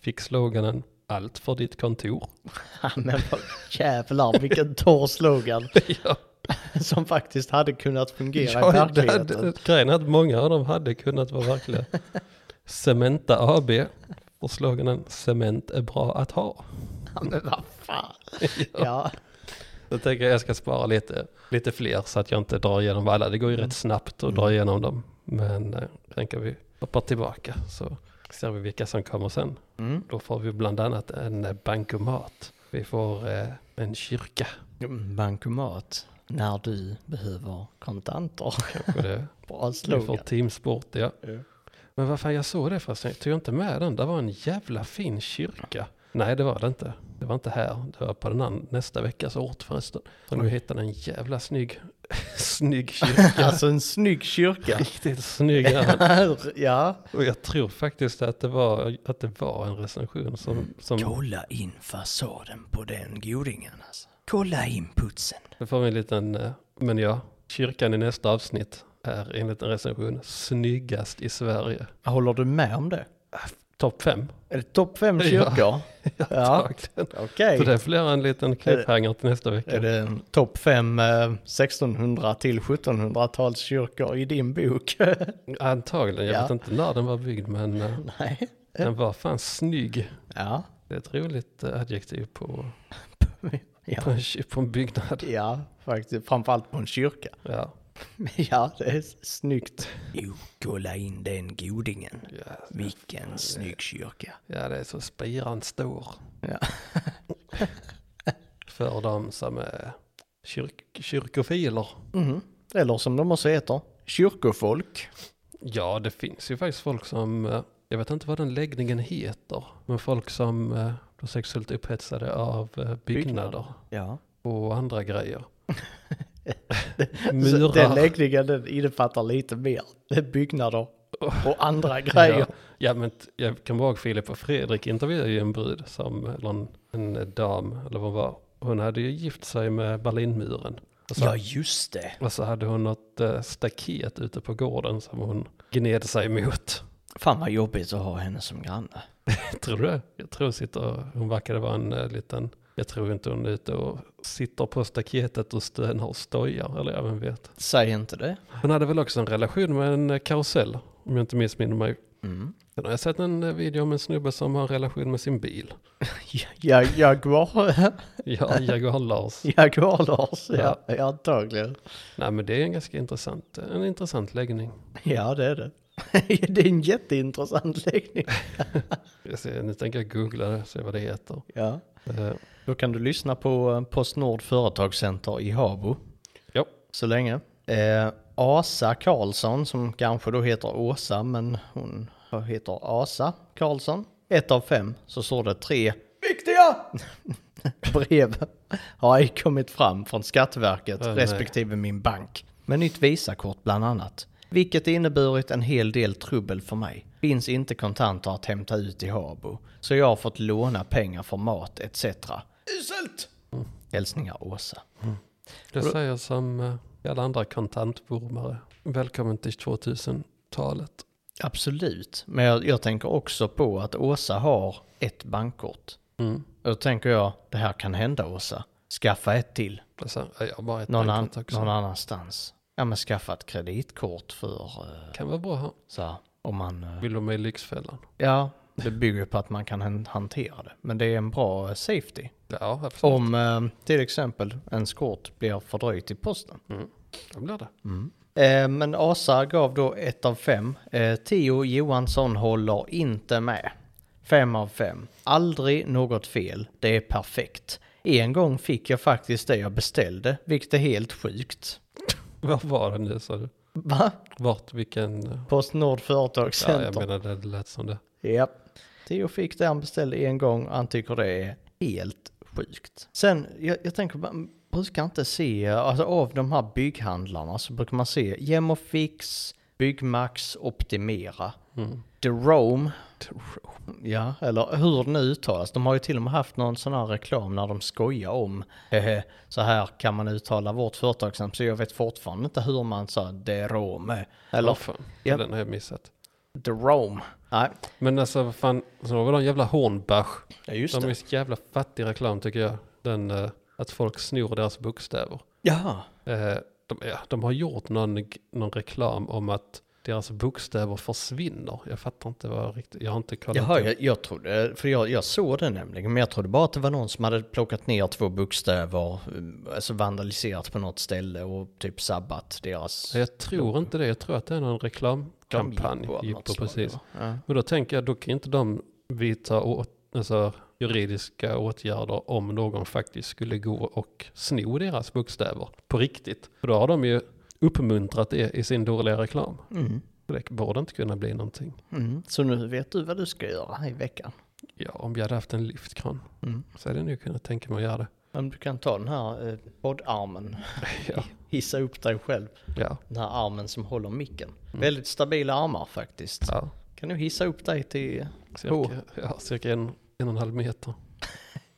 Speaker 1: fick sloganen allt för ditt kontor.
Speaker 2: Ja, Men vad jävlar vilken torr <laughs> slogan
Speaker 1: ja,
Speaker 2: som faktiskt hade kunnat fungera i
Speaker 1: <laughs> ja, det
Speaker 2: verkligheten.
Speaker 1: hade, grejen är att många av dem hade kunnat vara verkliga. Cementa AB och sloganen cement är bra att ha.
Speaker 2: Ja, men vad fan. <laughs> Ja,
Speaker 1: Då tänker jag jag ska spara lite, lite fler så att jag inte drar igenom alla. Det går
Speaker 2: Mm.
Speaker 1: ju rätt snabbt att dra igenom dem. Men eh, tänker vi hoppar tillbaka så ser vi vilka som kommer sen.
Speaker 2: Mm.
Speaker 1: Då får vi bland annat en eh, bankomat. Vi får eh, en kyrka.
Speaker 2: bankomat när du behöver kontanter. <laughs>
Speaker 1: Kanske det.
Speaker 2: Bra
Speaker 1: Vi får
Speaker 2: slogan.
Speaker 1: teamsport, ja.
Speaker 2: Ja.
Speaker 1: Men vad fan, jag såg det förresten. Jag tog inte med den. Det var en jävla fin kyrka. Nej, det var det inte. Det var inte här. Det var på den an- nästa veckas ort förresten. Så nu hittade en jävla snygg, <laughs> snygg kyrka.
Speaker 2: Alltså en snygg kyrka.
Speaker 1: Riktigt snygg är den.
Speaker 2: <laughs> ja.
Speaker 1: Och jag tror faktiskt att det var, att det var en recension
Speaker 2: Mm.
Speaker 1: som... som
Speaker 2: Kolla in fasaden på den godingen alltså. Kolla in putsen.
Speaker 1: nu får vi en liten... eh, Men ja, kyrkan i nästa avsnitt är enligt en recension snyggast i Sverige.
Speaker 2: Håller du med om det?
Speaker 1: Topp fem.
Speaker 2: Är det topp fem
Speaker 1: Ja.
Speaker 2: kyrkor?
Speaker 1: Ja,
Speaker 2: <laughs> Ja.
Speaker 1: antagligen.
Speaker 2: Okej.
Speaker 1: Så det blir en liten cliffhanger till nästa
Speaker 2: Är
Speaker 1: vecka.
Speaker 2: det en topp fem eh, 1600 till 1700-tals kyrkor i din bok? <laughs>
Speaker 1: Antagligen, jag
Speaker 2: Ja.
Speaker 1: vet inte när den var byggd men eh,
Speaker 2: Nej.
Speaker 1: den var fan snygg.
Speaker 2: Ja. <laughs>
Speaker 1: Det är ett roligt eh, adjektiv på, på,
Speaker 2: ja.
Speaker 1: en, ky- på en byggnad.
Speaker 2: Ja, faktiskt. Framförallt på en kyrka.
Speaker 1: Ja,
Speaker 2: <laughs> Ja, det är snyggt. Jo, kolla in den godingen.
Speaker 1: ja,
Speaker 2: Vilken snygg kyrka.
Speaker 1: ja det är så spiran står
Speaker 2: Ja.
Speaker 1: <laughs> för de som är kyrk, kyrkofiler.
Speaker 2: Mhm. Eller som de också heter, kyrkofolk.
Speaker 1: Ja, det finns ju faktiskt folk som, eh, jag vet inte vad den läggningen heter, men folk som eh, blir sexuellt upphetsade av eh, byggnader
Speaker 2: Ja.
Speaker 1: och
Speaker 2: <laughs>
Speaker 1: andra grejer.
Speaker 2: Så den
Speaker 1: Murar.
Speaker 2: läggningen den innefattar lite mer byggnader och <laughs> andra
Speaker 1: Ja,
Speaker 2: grejer.
Speaker 1: ja, men t- jag kommer ihåg Filip och Fredrik intervjuade ju en brud som, eller en, en dam, eller vad hon var. Hon hade ju gift sig med Berlinmuren. Och så,
Speaker 2: just det.
Speaker 1: och så hade hon något eh, staket ute på gården som hon gned sig emot. <laughs>
Speaker 2: Fan vad jobbigt att ha henne som granne.
Speaker 1: Tror du det? Jag tror hon sitter, hon verkade vara en eh, liten, jag tror inte hon är ute och sitter på staketet och stönar och stojar, eller jag vem vet.
Speaker 2: Säg inte det.
Speaker 1: Hon hade väl också en relation med en eh, karusell, om jag inte missminner mig.
Speaker 2: Mm.
Speaker 1: Sen har jag sett en eh, video om en snubbe som har en relation med sin bil.
Speaker 2: <laughs>
Speaker 1: <laughs>
Speaker 2: Ja, Jaguar, <laughs>
Speaker 1: Ja, Jaguar Lars.
Speaker 2: Jaguar-Lars, ja.
Speaker 1: Ja.
Speaker 2: ja antagligen.
Speaker 1: Nej men det är en ganska intressant, eh, en intressant läggning.
Speaker 2: Ja det <laughs> är det. det är en jätteintressant läggning.
Speaker 1: Jag ser, nu tänker jag googla det, se vad det heter.
Speaker 2: Ja.
Speaker 1: Eh,
Speaker 2: Då kan du lyssna på eh, Postnord Företagscenter i Habo
Speaker 1: ja,
Speaker 2: så länge. Eh, Asa Karlsson, som kanske då heter Åsa, men hon heter Asa Karlsson. Ett av fem så står det tre viktiga <laughs> brev har ej kommit fram från Skatteverket
Speaker 1: Åh, nej.
Speaker 2: respektive min bank. Med nytt Visakort bland annat. Vilket inneburit en hel del trubbel för mig. Finns inte kontanter att hämta ut i Habo. Så jag har fått låna pengar för mat etc. Uselt! Hälsningar Åsa.
Speaker 1: Det säger som eh, alla andra kontantvurmare. Välkommen till 2000-talet.
Speaker 2: Absolut, men jag, jag tänker också på att Åsa har ett bankkort.
Speaker 1: Mm.
Speaker 2: Och då tänker jag, det här kan hända Åsa. Skaffa ett till
Speaker 1: Det säger, ja, jag har bara ett
Speaker 2: någon, an,
Speaker 1: bankkort också.
Speaker 2: någon annanstans. Ja men skaffa ett kreditkort för eh,
Speaker 1: Kan vara bra här.
Speaker 2: så här, om man... eh,
Speaker 1: Vill du med i Lyxfällan?
Speaker 2: Ja, det bygger på att man kan han- hantera det. Men det är en bra eh, safety.
Speaker 1: Ja, absolut.
Speaker 2: Om eh, till exempel ens kort blir fördröjt i posten.
Speaker 1: Det blir det.
Speaker 2: Eh, men Asa gav då ett av fem. Eh, Theo Johansson håller inte med. Fem av fem. Aldrig något fel. Det är perfekt. En gång fick jag faktiskt det jag beställde, vilket är helt sjukt.
Speaker 1: Vad var det nu sa du?
Speaker 2: Va?
Speaker 1: Vart, vilken? eh,
Speaker 2: Postnord
Speaker 1: Ja, jag
Speaker 2: Företagscenter.
Speaker 1: menar det lät som det.
Speaker 2: Japp. Theo fick det han beställde en gång och han tycker det är helt sjukt. Sen, jag, jag tänker, man brukar inte se, alltså av de här bygghandlarna så brukar man se Gemofix, Byggmax, Optimera.
Speaker 1: Mm.
Speaker 2: The Rome. Ja, eller hur det nu uttalas. De har ju till och med haft någon sån här reklam när de skojar om eh, så här kan man uttala vårt företagsnamn. Så jag vet fortfarande inte hur man sa The Rome.
Speaker 1: Åh,
Speaker 2: Eller
Speaker 1: fan.
Speaker 2: Ja.
Speaker 1: Den har jag missat.
Speaker 2: The Rome. Nej,
Speaker 1: Men alltså vad fan, så var det en jävla Hornbach.
Speaker 2: ja, just
Speaker 1: De är
Speaker 2: det.
Speaker 1: så jävla fattig reklam tycker jag. Den, eh, att folk snor deras bokstäver.
Speaker 2: Jaha.
Speaker 1: Eh, de, ja, de har gjort någon, någon reklam om att deras bokstäver försvinner. Jag fattar inte vad riktigt, jag har inte kollat.
Speaker 2: Jaha,
Speaker 1: upp.
Speaker 2: jag, jag trodde, för jag, jag såg det nämligen, men jag trodde bara att det var någon som hade plockat ner två bokstäver, eh, alltså vandaliserat på något ställe och typ sabbat deras...
Speaker 1: Nej, jag tror inte det, jag tror att det är någon reklamkampanj.
Speaker 2: Jippo av något
Speaker 1: Jippo,
Speaker 2: slag,
Speaker 1: precis.
Speaker 2: va? Ja.
Speaker 1: Men då tänker jag, då kan inte de vidta åt, alltså, juridiska åtgärder om någon faktiskt skulle gå och sno deras bokstäver på riktigt. För då har de ju uppmuntrat det i sin dåliga reklam.
Speaker 2: Mm.
Speaker 1: Så Det borde inte kunna bli någonting.
Speaker 2: Mm. Så nu vet du vad du ska göra i veckan.
Speaker 1: Ja, om jag hade haft en lyftkran
Speaker 2: Mm.
Speaker 1: så hade jag nu kunnat tänka mig att göra det. <laughs>
Speaker 2: Men du kan ta den här eh, poddarmen, <laughs>
Speaker 1: Ja,
Speaker 2: hissa upp dig själv,
Speaker 1: ja,
Speaker 2: den här armen som håller micken. Väldigt stabila armar faktiskt.
Speaker 1: ja.
Speaker 2: Kan du hissa upp dig till, Oh.
Speaker 1: Cirka, ja, cirka en, en och en halv meter.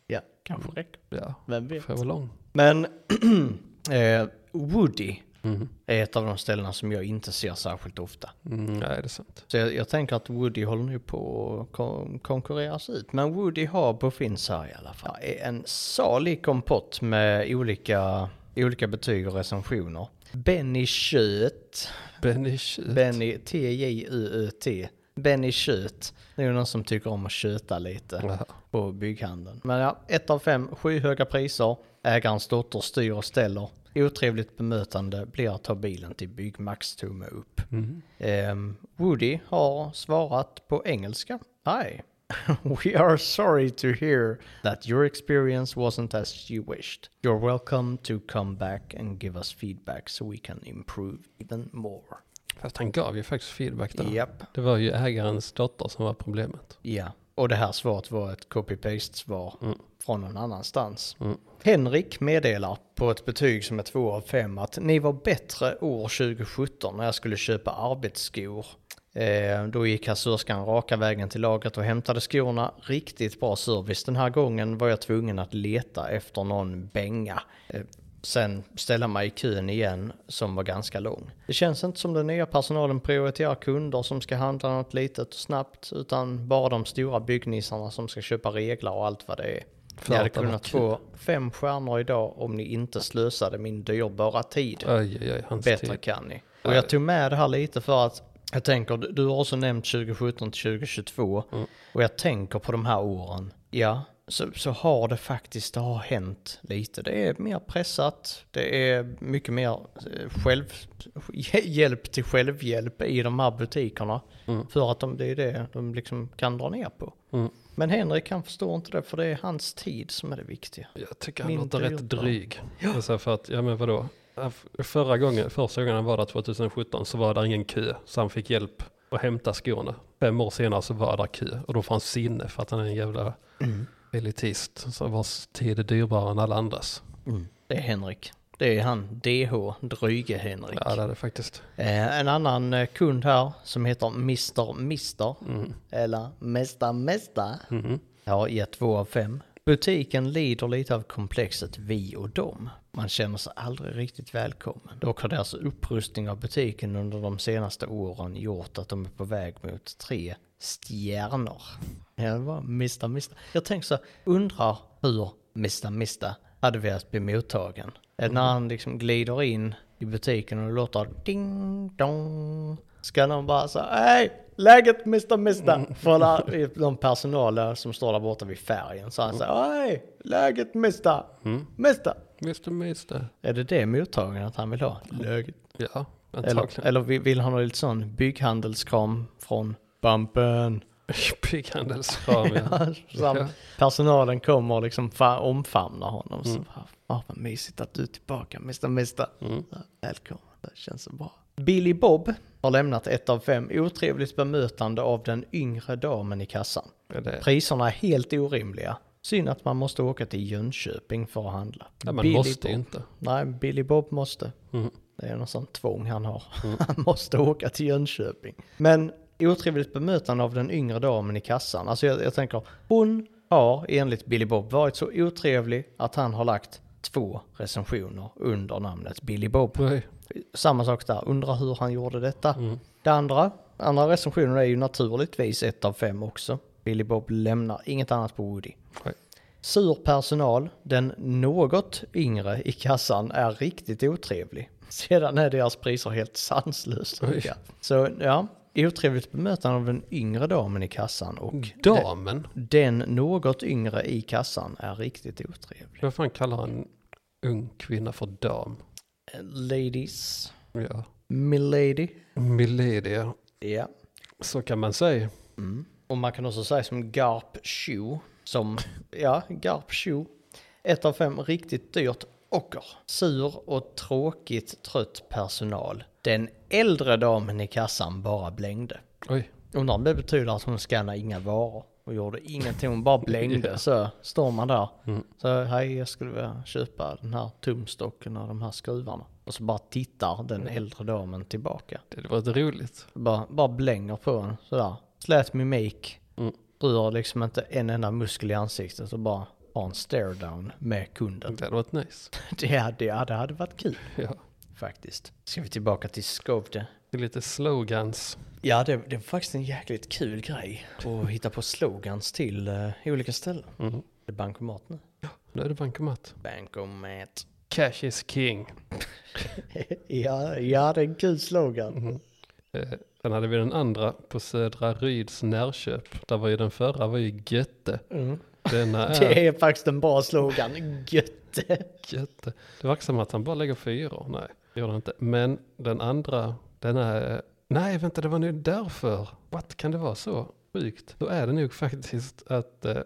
Speaker 2: ja, kanske räcker,
Speaker 1: Ja,
Speaker 2: vem vet.
Speaker 1: får jag vara lång.
Speaker 2: Men <clears throat> eh, Woody
Speaker 1: Mm.
Speaker 2: är ett av de ställena som jag inte ser särskilt ofta.
Speaker 1: Mm, nej, det är sant.
Speaker 2: Så jag, jag tänker att Woody håller nu på att kon- konkurreras ut. Men Woody Harbour finns här i alla fall. Ja, en salig kompott med olika, olika betyg och recensioner. Benny Köt,
Speaker 1: Benny Tjut.
Speaker 2: Benny T-J-U-Ö-T, Benny Köt. Det är ju någon som tycker om att köta lite
Speaker 1: Ja.
Speaker 2: på bygghandeln. Men ja, ett av fem, sju höga priser, ägarens dotter styr och ställer, otrevligt bemötande blir att ta bilen till Byggmax tumme upp.
Speaker 1: Mm.
Speaker 2: Ehm, Woody har svarat på engelska. Hi, <laughs> we are sorry to hear that your experience wasn't as you wished. You're welcome to come back and give us feedback so we can improve even more.
Speaker 1: Fast han gav ju faktiskt feedback där.
Speaker 2: Japp.
Speaker 1: Det var ju ägarens dotter som var problemet.
Speaker 2: Ja, och det här svaret var ett copy-paste-svar
Speaker 1: Mm.
Speaker 2: från någon annanstans.
Speaker 1: Mm.
Speaker 2: Henrik meddelar på ett betyg som är 2 av 5 att ni var bättre år 2017 när jag skulle köpa arbetsskor. Eh, då gick kassörskan raka vägen till lagret och hämtade skorna. Riktigt bra service. Den här gången var jag tvungen att leta efter någon bänga. Eh, sen ställa mig i kön igen som var ganska lång. Det känns inte som den nya personalen prioriterar kunder som ska handla något litet och snabbt utan bara de stora byggnissarna som ska köpa reglar och allt vad det är.
Speaker 1: För
Speaker 2: Ni hade
Speaker 1: att det var
Speaker 2: kunnat få fem stjärnor idag om ni inte slösade min dyrbara tid.
Speaker 1: Aj, aj, aj, hans
Speaker 2: Bättre
Speaker 1: tid.
Speaker 2: kan ni. Och jag tog med det här lite för att jag tänker, du- du har också nämnt 2017 till 2022 och jag tänker på de här åren. Ja, så, så har det faktiskt, det har hänt lite. Det är mer pressat, det är mycket mer eh, själv, <laughs> hjälp till självhjälp i de här butikerna. För att de, det är det de liksom kan dra ner på.
Speaker 1: Mm.
Speaker 2: Men Henrik han förstår inte det för det är hans tid som är det viktiga.
Speaker 1: Jag tycker han
Speaker 2: Min
Speaker 1: låter
Speaker 2: Toyota.
Speaker 1: rätt dryg. Alltså för att, ja men vadå? Ja, f- Förra gången, första gången han var där 2017 så var det ingen kö så han fick hjälp att hämta skorna. Fem år senare så var det kö och då får han sinne för att han är en jävla
Speaker 2: Mm.
Speaker 1: elitist som vars tid är dyrbarare än alla andras.
Speaker 2: Det är Henrik. Det är han, DH, dryge Henrik.
Speaker 1: Ja det är det faktiskt.
Speaker 2: Eh, en annan eh, kund här som heter Mr. Mister,
Speaker 1: Mm.
Speaker 2: eller Mesta Mesta,
Speaker 1: Mhm.
Speaker 2: har gett två av fem. Butiken lider lite av komplexet vi och dem. Man känner sig aldrig riktigt välkommen. Dock har deras upprustning av butiken under de senaste åren gjort att de är på väg mot tre stjärnor. Ja, det var Mr. Mr. Jag tänker så, här, undrar hur Mr. Mr. hade velat bli mottagen. Är det När han liksom glider in i butiken och det låter ding dong. Ska någon bara säga hej, läget Mr. Mr. För alla, de personaler som står där borta vid färgen. Så han säger hej, läget Mr. Mr.
Speaker 1: Mr. Mister.
Speaker 2: Är det det mottagningen att han vill ha? Läget.
Speaker 1: Ja,
Speaker 2: Eller,
Speaker 1: <laughs> antagligen.
Speaker 2: eller vill vill han ha lite sån bygghandelskram från Bumpen? <laughs>
Speaker 1: Bygghandelskram ja.
Speaker 2: Sam,
Speaker 1: Ja.
Speaker 2: Personalen kommer och liksom fa- omfamnar honom.
Speaker 1: Mm.
Speaker 2: Så bara, "Ah, vad mysigt att du är tillbaka, Mr. Mr. Ja, Välkommen, det känns så bra. Billy Bob har lämnat ett av fem otrevligt bemötande av den yngre damen i kassan.
Speaker 1: Ja, det,
Speaker 2: Priserna är helt orimliga. Synd att man måste åka till Jönköping för att handla.
Speaker 1: ja, man
Speaker 2: Billy
Speaker 1: måste ju
Speaker 2: Bob.
Speaker 1: inte.
Speaker 2: Nej, Billy Bob måste.
Speaker 1: Mm.
Speaker 2: Det är någon sån tvång han har. <laughs> Han måste åka till Jönköping. Men otrevligt bemötande av den yngre damen i kassan. Alltså jag, jag tänker, hon har enligt Billy Bob varit så otrevlig att han har lagt två recensioner under namnet Billy Bob.
Speaker 1: Nej.
Speaker 2: Samma sak där, undrar hur han gjorde detta. Det andra, andra recensionen är ju naturligtvis ett av fem också. Billy Bob lämnar inget annat på Woody.
Speaker 1: Nej.
Speaker 2: Sur personal, den något yngre i kassan är riktigt otrevlig. <laughs> Sedan är deras priser helt sanslöst
Speaker 1: Oj.
Speaker 2: höga. Så ja, otrevligt bemötande av den yngre damen i kassan och
Speaker 1: Damen?
Speaker 2: den något yngre i kassan är riktigt otrevlig.
Speaker 1: Vad fan kallar en ung kvinna för dam?
Speaker 2: Ladies,
Speaker 1: Ja.
Speaker 2: milady.
Speaker 1: Milady, ja.
Speaker 2: Ja.
Speaker 1: så kan man säga.
Speaker 2: Och man kan också säga som Garp Shoe, som, ja, Garp Shoe. Ett av fem riktigt dyrt ocker. Sur och tråkigt trött personal. Den äldre damen i kassan bara blängde.
Speaker 1: Oj,
Speaker 2: Undrar om det betyder att hon skannade inga varor och gjorde ingenting, hon bara blängde. Så står man där. Så hej, jag skulle vilja köpa den här tumstocken och de här skruvarna. Och så bara tittar den äldre damen tillbaka.
Speaker 1: det var inte roligt.
Speaker 2: Bara, bara blänger på en sådär. Slät mimik. Rör liksom inte en enda muskel i ansiktet och bara har en stare down med kunden.
Speaker 1: Det hade varit nice.
Speaker 2: <laughs> Det hade, ja, det hade varit kul
Speaker 1: <laughs> Ja.
Speaker 2: faktiskt. Ska vi tillbaka till Skövde?
Speaker 1: Det är lite slogans.
Speaker 2: Ja, det, det var faktiskt en jäkligt kul grej att hitta på slogans till eh, olika ställen.
Speaker 1: Mm.
Speaker 2: Det är bankomat nu.
Speaker 1: Nu är det bankomat.
Speaker 2: Bankomat. <laughs>
Speaker 1: Cash is king.
Speaker 2: ja, ja, det är en kul slogan.
Speaker 1: Eh, sen hade vi den andra på Södra Ryds närköp. Där var ju den förra var ju Götte.
Speaker 2: Mm.
Speaker 1: <laughs> Denna är
Speaker 2: Det är faktiskt en bra slogan. Götte.
Speaker 1: Götte. Det verkar som att han bara lägger fyror. Nej, det gjorde han inte. Men den andra, den är... Nej, vänta, det var nu därför. What, kan det vara så sjukt? Då är det nog faktiskt att eh,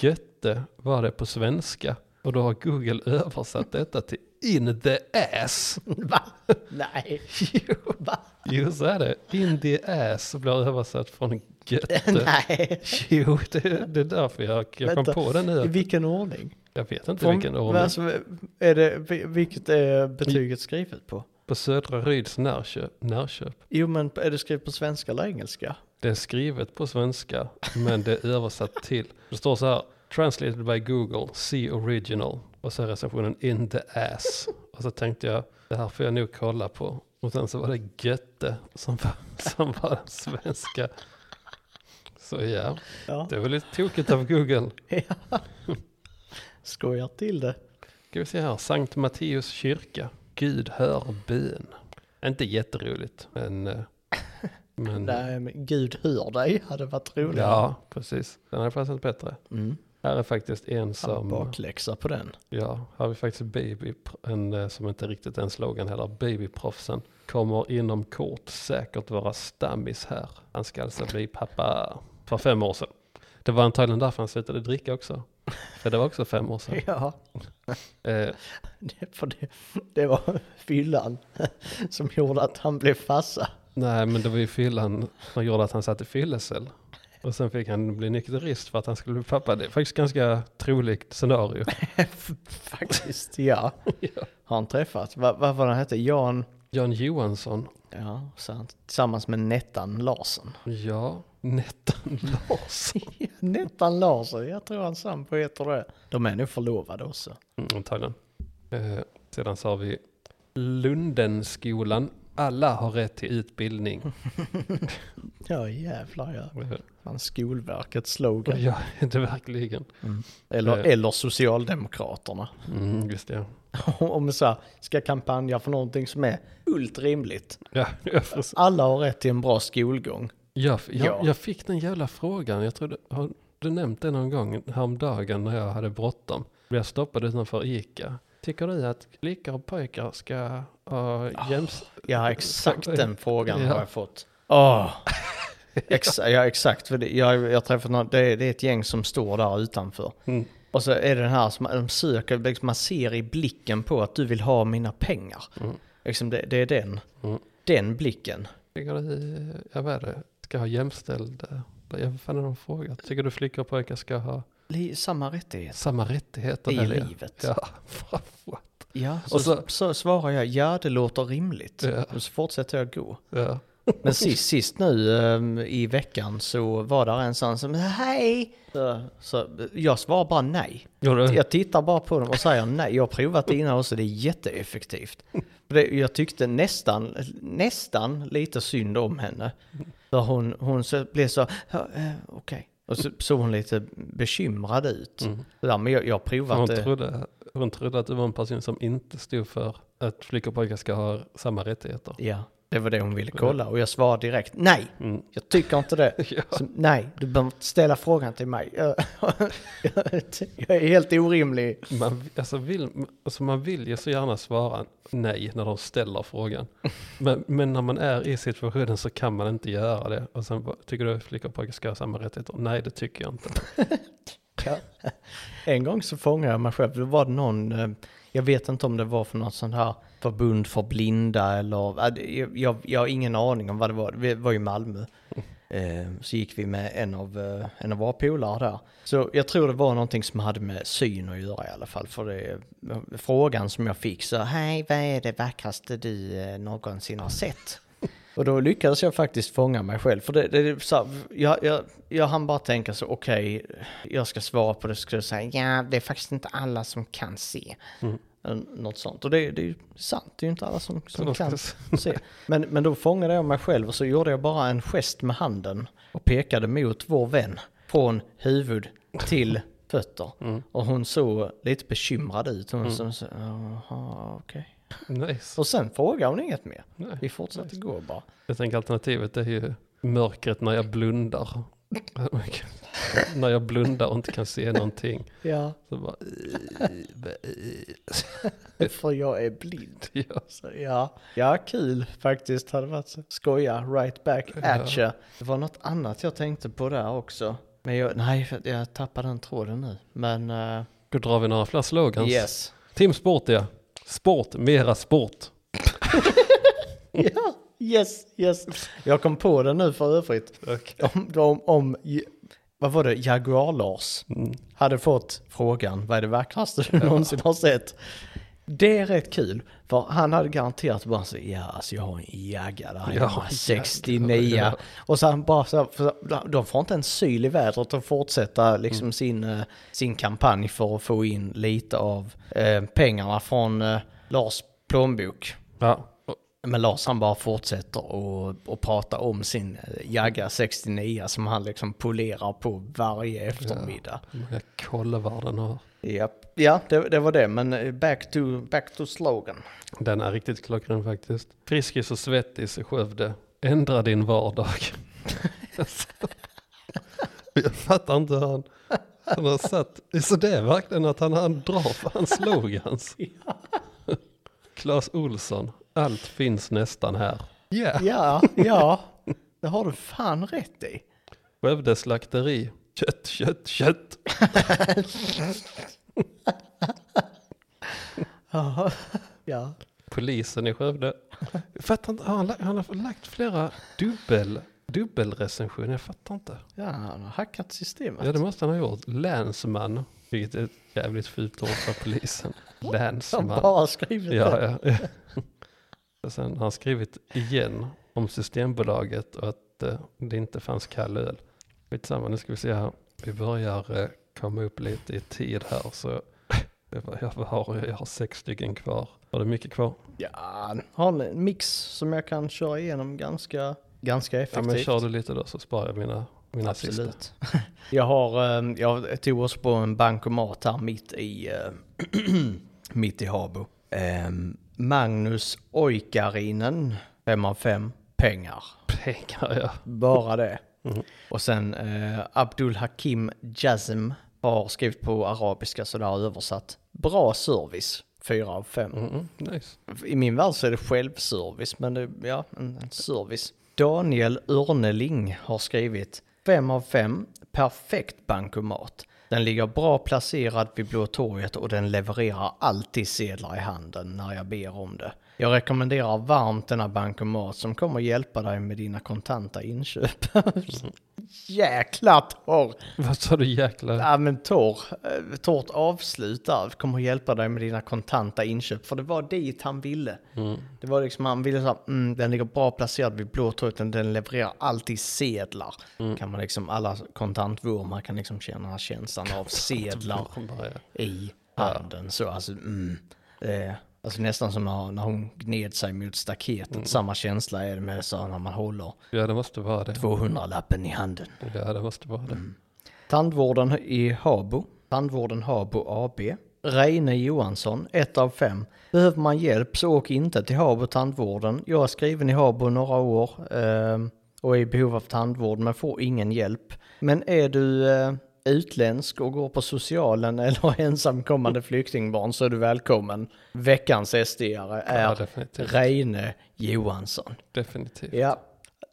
Speaker 1: Götte var det på svenska. Och då har Google <laughs> översatt detta till in the ass.
Speaker 2: <laughs> Va? Nej. <laughs> Jo. Va?
Speaker 1: Jo, så är det. In the ass blir översatt från <laughs> götte.
Speaker 2: <laughs> Nej.
Speaker 1: Jo, det, det är därför jag, jag kom
Speaker 2: Vänta.
Speaker 1: på den
Speaker 2: I
Speaker 1: nu.
Speaker 2: vilken ordning?
Speaker 1: Jag vet inte vilken
Speaker 2: Om-
Speaker 1: ordning.
Speaker 2: Alltså, är det, vi- vilket är betyget skrivet på?
Speaker 1: På Södra Ryds närköp, närköp.
Speaker 2: Jo, men är det skrivet på svenska eller engelska?
Speaker 1: Det är skrivet på svenska, men det är översatt till. Det står så här, translated by Google, see original. Och så är recensionen in the ass. Och så tänkte jag, det här får jag nog kolla på. Och sen så var det götte som var, som var den svenska. Så ja,
Speaker 2: Ja.
Speaker 1: det var lite tokigt av Google.
Speaker 2: Skojar till det.
Speaker 1: Ska vi se här, Sankt Matteus kyrka. Gud hör bön. Inte jätteroligt, men... eh,
Speaker 2: <laughs>
Speaker 1: men
Speaker 2: Nej, men Gud hör dig hade varit roligt.
Speaker 1: Mm. ja, precis. Den hade faktiskt varit bättre.
Speaker 2: Mm.
Speaker 1: Här är faktiskt en
Speaker 2: Som...
Speaker 1: som...
Speaker 2: Bakläxa på den.
Speaker 1: Ja, här har vi faktiskt baby, en eh, som inte riktigt är en slogan heller. Babyproffsen kommer inom kort säkert vara stammis här. Han ska alltså bli pappa för fem år sedan. Det var antagligen därför han slutade dricka också. För det var också fem
Speaker 2: <laughs>
Speaker 1: år sedan.
Speaker 2: Ja,
Speaker 1: Eh,
Speaker 2: det, för det, det var fyllan <laughs> som gjorde att han blev fassa. <laughs>
Speaker 1: nej, men det var ju fyllan som gjorde att han satt i fyllecell. Och sen fick han bli nykterist för att han skulle bli pappa. Det är faktiskt ganska troligt scenario.
Speaker 2: Faktiskt, ja.
Speaker 1: <laughs> Ja.
Speaker 2: Har han träffat, vad vad var det han hette, Jan?
Speaker 1: Jan Johansson.
Speaker 2: Ja, sant. Tillsammans med Nettan Larsson.
Speaker 1: Ja, Nettan Larsson.
Speaker 2: Nettan Larsson, jag tror han sambo heter det. De är nog förlovade också.
Speaker 1: Mm, antagligen. Eh, sedan så har vi Lundenskolan. Alla har rätt till utbildning.
Speaker 2: Ja jävlar ja.
Speaker 1: Eh,
Speaker 2: Fan, Skolverkets slogan.
Speaker 1: Ja, <laughs> det verkligen.
Speaker 2: Eller,
Speaker 1: Eh.
Speaker 2: eller Socialdemokraterna. <laughs>
Speaker 1: Mm, just det.
Speaker 2: Om så här, ska kampanja för någonting som är fullt rimligt.
Speaker 1: Ja, <laughs> jag, får-
Speaker 2: Alla har rätt till en bra skolgång.
Speaker 1: jag,
Speaker 2: Ja.
Speaker 1: jag, jag fick den jävla frågan. Jag tror du, har du nämnt det någon gång häromdagen när jag hade bråttom. Blev jag stoppad utanför Ica. Tycker du att flickor och pojkar ska ha jäms... <laughs>
Speaker 2: Ja, exakt den frågan
Speaker 1: Ja.
Speaker 2: har jag fått. Åh. Exa, ja, exakt. För det, jag, jag har träffat någon, det, det är ett gäng som står där utanför.
Speaker 1: Mm.
Speaker 2: Och så är det den här som de söker, liksom, man ser i blicken på att du vill ha mina pengar.
Speaker 1: Mm.
Speaker 2: Liksom det, det är den,
Speaker 1: Mm.
Speaker 2: den blicken.
Speaker 1: Tycker du, jag vet det, ska ha jämställd... Ja, vad fan är de frågat? Tycker du flickor och pojkar ska ha
Speaker 2: Li- Samma rättighet
Speaker 1: samma rättigheter?
Speaker 2: i
Speaker 1: eller?
Speaker 2: livet. Ja.
Speaker 1: Ja, bravo.
Speaker 2: så,
Speaker 1: Och
Speaker 2: så,
Speaker 1: så-
Speaker 2: svarar jag, ja det låter rimligt.
Speaker 1: Ja.
Speaker 2: Och så fortsätter jag gå.
Speaker 1: Ja.
Speaker 2: Men
Speaker 1: <laughs>
Speaker 2: sist, sist nu ehm, i veckan så var där en sån som, hej! Så, så jag svarar bara nej.
Speaker 1: Gjorde du?
Speaker 2: Jag tittar bara på dem och säger nej. Jag har provat det innan också, det är jätteeffektivt. <laughs> För det- Jag tyckte nästan, nästan lite synd om henne. För hon, hon så, blev så, "Ja, eh, okej. Och så såg hon lite bekymrad ut.
Speaker 1: Mm.
Speaker 2: Ja, men jag, jag har provat
Speaker 1: Hon
Speaker 2: det.
Speaker 1: trodde, hon trodde att du var en person som inte stod för att flickor och pojkar ska ha samma rättigheter.
Speaker 2: Ja, det var det hon ville kolla. Och jag svarade direkt, nej,
Speaker 1: Mm.
Speaker 2: jag tycker inte det.
Speaker 1: <laughs> Ja.
Speaker 2: Så, nej, du behöver inte ställa frågan till mig. <laughs> Jag, jag är helt orimlig.
Speaker 1: Man, alltså vill, alltså man vill ju så gärna svara nej när de
Speaker 2: <laughs>
Speaker 1: ställer frågan. Men, men när man är i situationen så kan man inte göra det. Och sen bara, tycker du att flickor och pojkar ska ha samma rättigheter? Nej, det tycker jag inte.
Speaker 2: Ja. <laughs> En gång så fångade jag mig själv. Då var det någon, eh, jag vet inte om det var för något sånt här förbund för blinda eller, eh, det- jag, jag, jag har ingen aning om vad det var. Det var i Malmö. Eh, Så gick vi med en av, eh, en av våra polare där. Så jag tror det var någonting som hade med syn att göra i alla fall. För det, frågan som jag fick så, hej vad är det vackraste du eh, någonsin har sett? <laughs> Och då lyckades jag faktiskt fånga mig själv. För det, det, är så här, jag, jag, jag hann bara tänka så, okej, jag ska svara på det. Så skulle jag säga, ja, det är faktiskt inte alla som kan se. Mm. Något sånt. Och det, det är ju sant, det är ju inte alla som, som
Speaker 1: de ska <laughs>
Speaker 2: kan
Speaker 1: se.
Speaker 2: se. Men, men då fångade jag mig själv och så gjorde jag bara en gest med handen och pekade mot vår vän. Från huvud till fötter. Och hon såg lite bekymrad ut. Hon mm. så, jaha, okej.
Speaker 1: Nice.
Speaker 2: Och sen frågade hon inget mer.
Speaker 1: Nej.
Speaker 2: Vi fortsatte gå bara.
Speaker 1: Jag tänker alternativet är ju mörkret när jag blundar. när jag blundar och inte kan se någonting.
Speaker 2: Ja,
Speaker 1: Så bara,
Speaker 2: för jag är blind.
Speaker 1: ja.
Speaker 2: Så, ja. ja, kul faktiskt. Hade varit så. Skoja, right back at ya. Det var något annat jag tänkte på där också. Men jag, nej, för jag tappade den tråden nu. Men eh,
Speaker 1: Då drar vi några fler slogans.
Speaker 2: yes.
Speaker 1: Team Sport ja. Sport, mera sport.
Speaker 2: Ja, yes, yes. Jag kom på det nu för övrigt. Om, om, om vad var det, Jaguar-Lars
Speaker 1: Mm.
Speaker 2: hade fått frågan vad är det vackraste du någonsin har sett? Det är rätt kul, för han hade garanterat bara så ja alltså jag har en jagga där
Speaker 1: Ja,
Speaker 2: hemma,
Speaker 1: en
Speaker 2: 69.
Speaker 1: Jaguar, ja.
Speaker 2: Och så han bara så här, för de får inte en syl i vädret att fortsätta liksom
Speaker 1: Mm.
Speaker 2: sin, eh, sin kampanj för att få in lite av eh, pengarna från eh, Lars plånbok.
Speaker 1: Ja. Och-
Speaker 2: Men Lars han bara fortsätter och, och prata om sin eh, Jagga 69 som han liksom polerar på varje eftermiddag.
Speaker 1: hur Många kolvar den har.
Speaker 2: Ja, ja det, det var det, men eh, back to, back to slogan.
Speaker 1: Den är riktigt klockren faktiskt. Friskis och svettis i Skövde. Ändra din vardag. <laughs> jag fattar inte hur han, han har satt. Så det är verkligen att han, han drar för hans <laughs> slogans. Claes Olsson. Allt finns nästan här. Yeah.
Speaker 2: Ja, ja, det har du fan rätt i.
Speaker 1: Skövde slakteri. Kött, kött, kött.
Speaker 2: Ja. ja.
Speaker 1: Polisen i Skövde. Jag fattar inte, har han, la- han har lagt flera dubbel, dubbelrecensioner, jag fattar inte.
Speaker 2: Ja, han har hackat systemet.
Speaker 1: Ja det måste han ha gjort. Länsman, vilket är ett jävligt fult ord
Speaker 2: <laughs>
Speaker 1: för polisen.
Speaker 2: han
Speaker 1: Länsman.
Speaker 2: bara har skrivit det.
Speaker 1: Ja, ja. <laughs> Och sen har han skrivit igen om Systembolaget och att eh, det inte fanns kall öl. Skitsamma, nu ska vi se här. Vi börjar eh, komma upp lite i tid här så <laughs> det var, jag, har, jag har sex stycken kvar. Har du mycket kvar?
Speaker 2: Ja, har en- en mix som jag kan köra igenom ganska, ganska
Speaker 1: Ja,
Speaker 2: effektivt.
Speaker 1: men kör du lite då så sparar jag mina, mina sista.
Speaker 2: Absolut. <laughs> jag, har, eh, jag tog oss på en bankomat här mitt i, eh, <clears throat> mitt i Habo. Eh, Magnus Oikarinen, 5 av 5, pengar.
Speaker 1: Pengar ja.
Speaker 2: Bara det.
Speaker 1: Mhm.
Speaker 2: Och sen eh, Abdul Hakim Jazm har skrivit på arabiska så det har översatt. Bra service, 4 av 5.
Speaker 1: Mm, nice.
Speaker 2: I min värld så är det självservice, men det, ja, en, en service. Daniel Örneling har skrivit 5 av 5, perfekt bankomat. Den ligger bra placerad vid Blå torget och den levererar alltid sedlar i handen när jag ber om det. Jag rekommenderar varmt denna bankomat som kommer hjälpa dig med dina kontanta inköp. <laughs> Jäkla torr!
Speaker 1: Vad sa du jäkla?
Speaker 2: Ja men torr, eh, torrt avslut där kommer att hjälpa dig med dina kontanta inköp. För det var dit han ville. Det var liksom, han ville såhär, mm, den ligger bra placerad vid Blå torget, den- den levererar alltid sedlar. Kan man liksom, alla kontantvurmar kan liksom känna den här känslan av sedlar i handen. Så alltså, mm. eh, alltså nästan som när, när hon gned sig mot staketet. Samma känsla är det med så här när man håller
Speaker 1: Ja det måste vara det.
Speaker 2: 200-lappen i handen.
Speaker 1: Ja det måste vara det.
Speaker 2: Mm. Tandvården i Habo. Tandvården Habo AB. Reine Johansson, 1 av 5. Behöver man hjälp så åk inte till Habo tandvården. Jag är skriven i Habo några år ehm, och är i behov av tandvård men får ingen hjälp. Men är du eh, utländsk och går på socialen <laughs> eller ensamkommande flyktingbarn så är du välkommen. Veckans SD-are
Speaker 1: Ja,
Speaker 2: är
Speaker 1: definitivt.
Speaker 2: Reine Johansson.
Speaker 1: definitivt.
Speaker 2: Ja,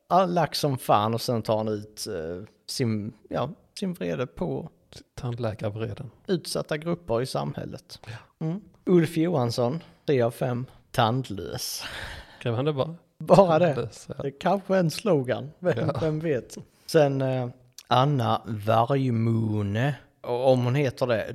Speaker 2: han lack som fan och sen tar han ut eh, sin, ja, sin vrede på
Speaker 1: Tandläkarvreden.
Speaker 2: utsatta grupper i samhället. Mm. Ulf Johansson, 3 av 5, tandlös. <laughs>
Speaker 1: Skrev han det bara?
Speaker 2: Bara det.
Speaker 1: Så,
Speaker 2: Det är kanske är en slogan, vem, vem vet. Sen eh, Anna Vargmone, och om hon heter det,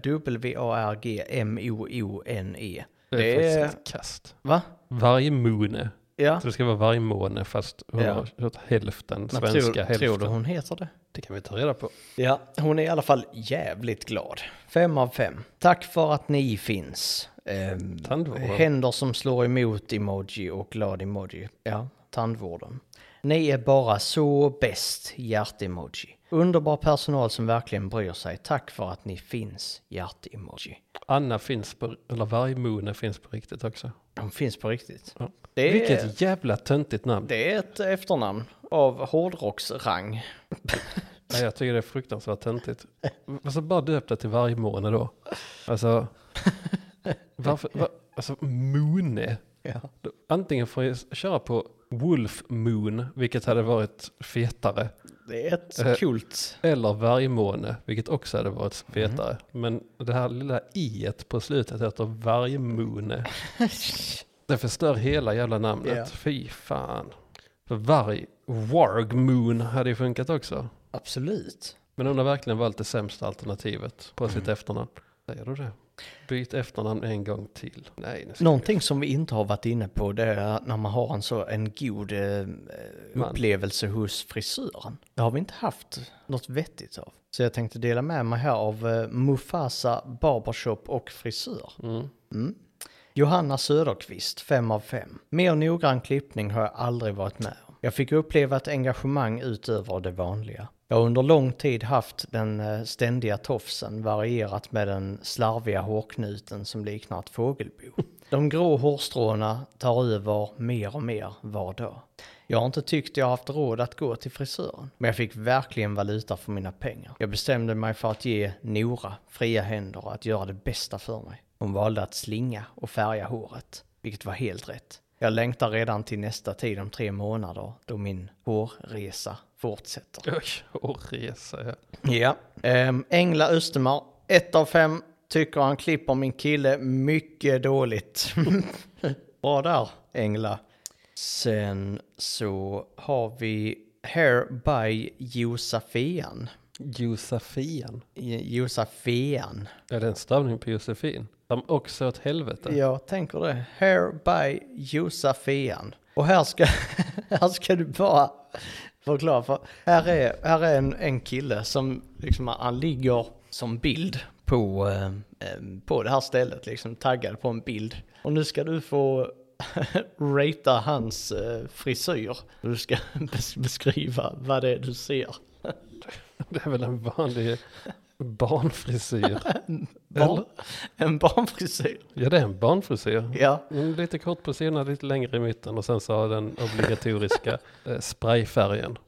Speaker 2: W-A-R-G-M-O-O-N-E.
Speaker 1: Det är,
Speaker 2: E. Det är-
Speaker 1: faktiskt ett kast.
Speaker 2: Va?
Speaker 1: Vargmåne.
Speaker 2: Ja,
Speaker 1: Så det ska vara vargmåne fast hon
Speaker 2: Ja.
Speaker 1: har kört hälften,
Speaker 2: Men
Speaker 1: svenska
Speaker 2: tror,
Speaker 1: hälften.
Speaker 2: tror du hon heter det?
Speaker 1: Det kan vi ta reda på.
Speaker 2: Ja, hon är i alla fall jävligt glad. Fem av fem. Tack för att ni finns. Ehm,
Speaker 1: Tandvården.
Speaker 2: händer som slår emot emoji och glad emoji. Ja, tandvården. Ni är bara så bäst, hjärt-emoji. Underbar personal som verkligen bryr sig. Tack för att ni finns, hjärt-emoji.
Speaker 1: Anna finns på, eller vargmåne finns på riktigt också.
Speaker 2: De finns på riktigt.
Speaker 1: Ja.
Speaker 2: Det är,
Speaker 1: Vilket jävla töntigt namn.
Speaker 2: det är ett efternamn av hårdrocksrang.
Speaker 1: Nej, jag tycker det är fruktansvärt töntigt. <laughs> Alltså bara döp det till vargmåne då.
Speaker 2: <laughs>
Speaker 1: Alltså, varför, va, alltså Mone.
Speaker 2: Ja.
Speaker 1: Då- Antingen får jag köra på Wolf Moon, vilket hade varit fetare.
Speaker 2: Det är ett
Speaker 1: Eh,
Speaker 2: kult.
Speaker 1: Eller vargmåne, vilket också hade varit fetare. Men det här lilla i på slutet heter vargmåne. Det förstör hela jävla namnet.
Speaker 2: Ja.
Speaker 1: Fy fan. För varg, wargmoon hade ju funkat också.
Speaker 2: Absolut.
Speaker 1: Men hon har verkligen valt det sämsta alternativet på sitt efternamn. Säger du det? Byt efternamn en gång till. Nej, nu ska
Speaker 2: Någonting som vi inte har varit inne på det är att när man har en så en god eh, upplevelse hos frisören. Det har vi inte haft något vettigt av. Så jag tänkte dela med mig här av eh, Mufasa Barbershop och frisör.
Speaker 1: Mm.
Speaker 2: Mm. Johanna Söderqvist, 5 av 5. Mer noggrann klippning har jag aldrig varit med om. Jag fick uppleva ett engagemang utöver det vanliga. Jag har under lång tid haft den eh, ständiga tofsen varierat med den slarviga hårknuten som liknar ett fågelbo. De grå hårstråna tar över mer och mer var dag. Jag har inte tyckt jag haft råd att gå till frisören, men jag fick verkligen valuta för mina pengar. Jag bestämde mig för att ge Nora fria händer att göra det bästa för mig. Hon valde att slinga och färga håret, vilket var helt rätt. Jag längtar redan till nästa tid om tre månader då min hårresa fortsätter.
Speaker 1: Oj, och resa ja.
Speaker 2: Ja. Ehm, Engla Östermar, ett av fem Tycker han klipper min kille mycket dåligt. <laughs> Bra där, Engla. Sen så har vi Hair by Josafian.
Speaker 1: Josefian.
Speaker 2: Josafian.
Speaker 1: Är det en stavning på Josefin? Som också åt helvete.
Speaker 2: Jag tänker det. Hair by Josafian. Och här ska, <laughs> här ska du bara förklara. För här är, här är en, en kille som liksom, han ligger som bild på, eh, eh, på det här stället, liksom taggad på en bild. Och nu ska du få <laughs> ratea hans eh, frisyr. Du ska <laughs> bes- beskriva vad det är du ser.
Speaker 1: <laughs> Det är väl en vanlig barnfrisyr.
Speaker 2: Barn, en barnfrisyr.
Speaker 1: Ja, det är en barnfrisyr.
Speaker 2: Ja. <laughs>
Speaker 1: Mm, Lite kort på sidan, lite längre i mitten och sen så har den obligatoriska eh, sprayfärgen.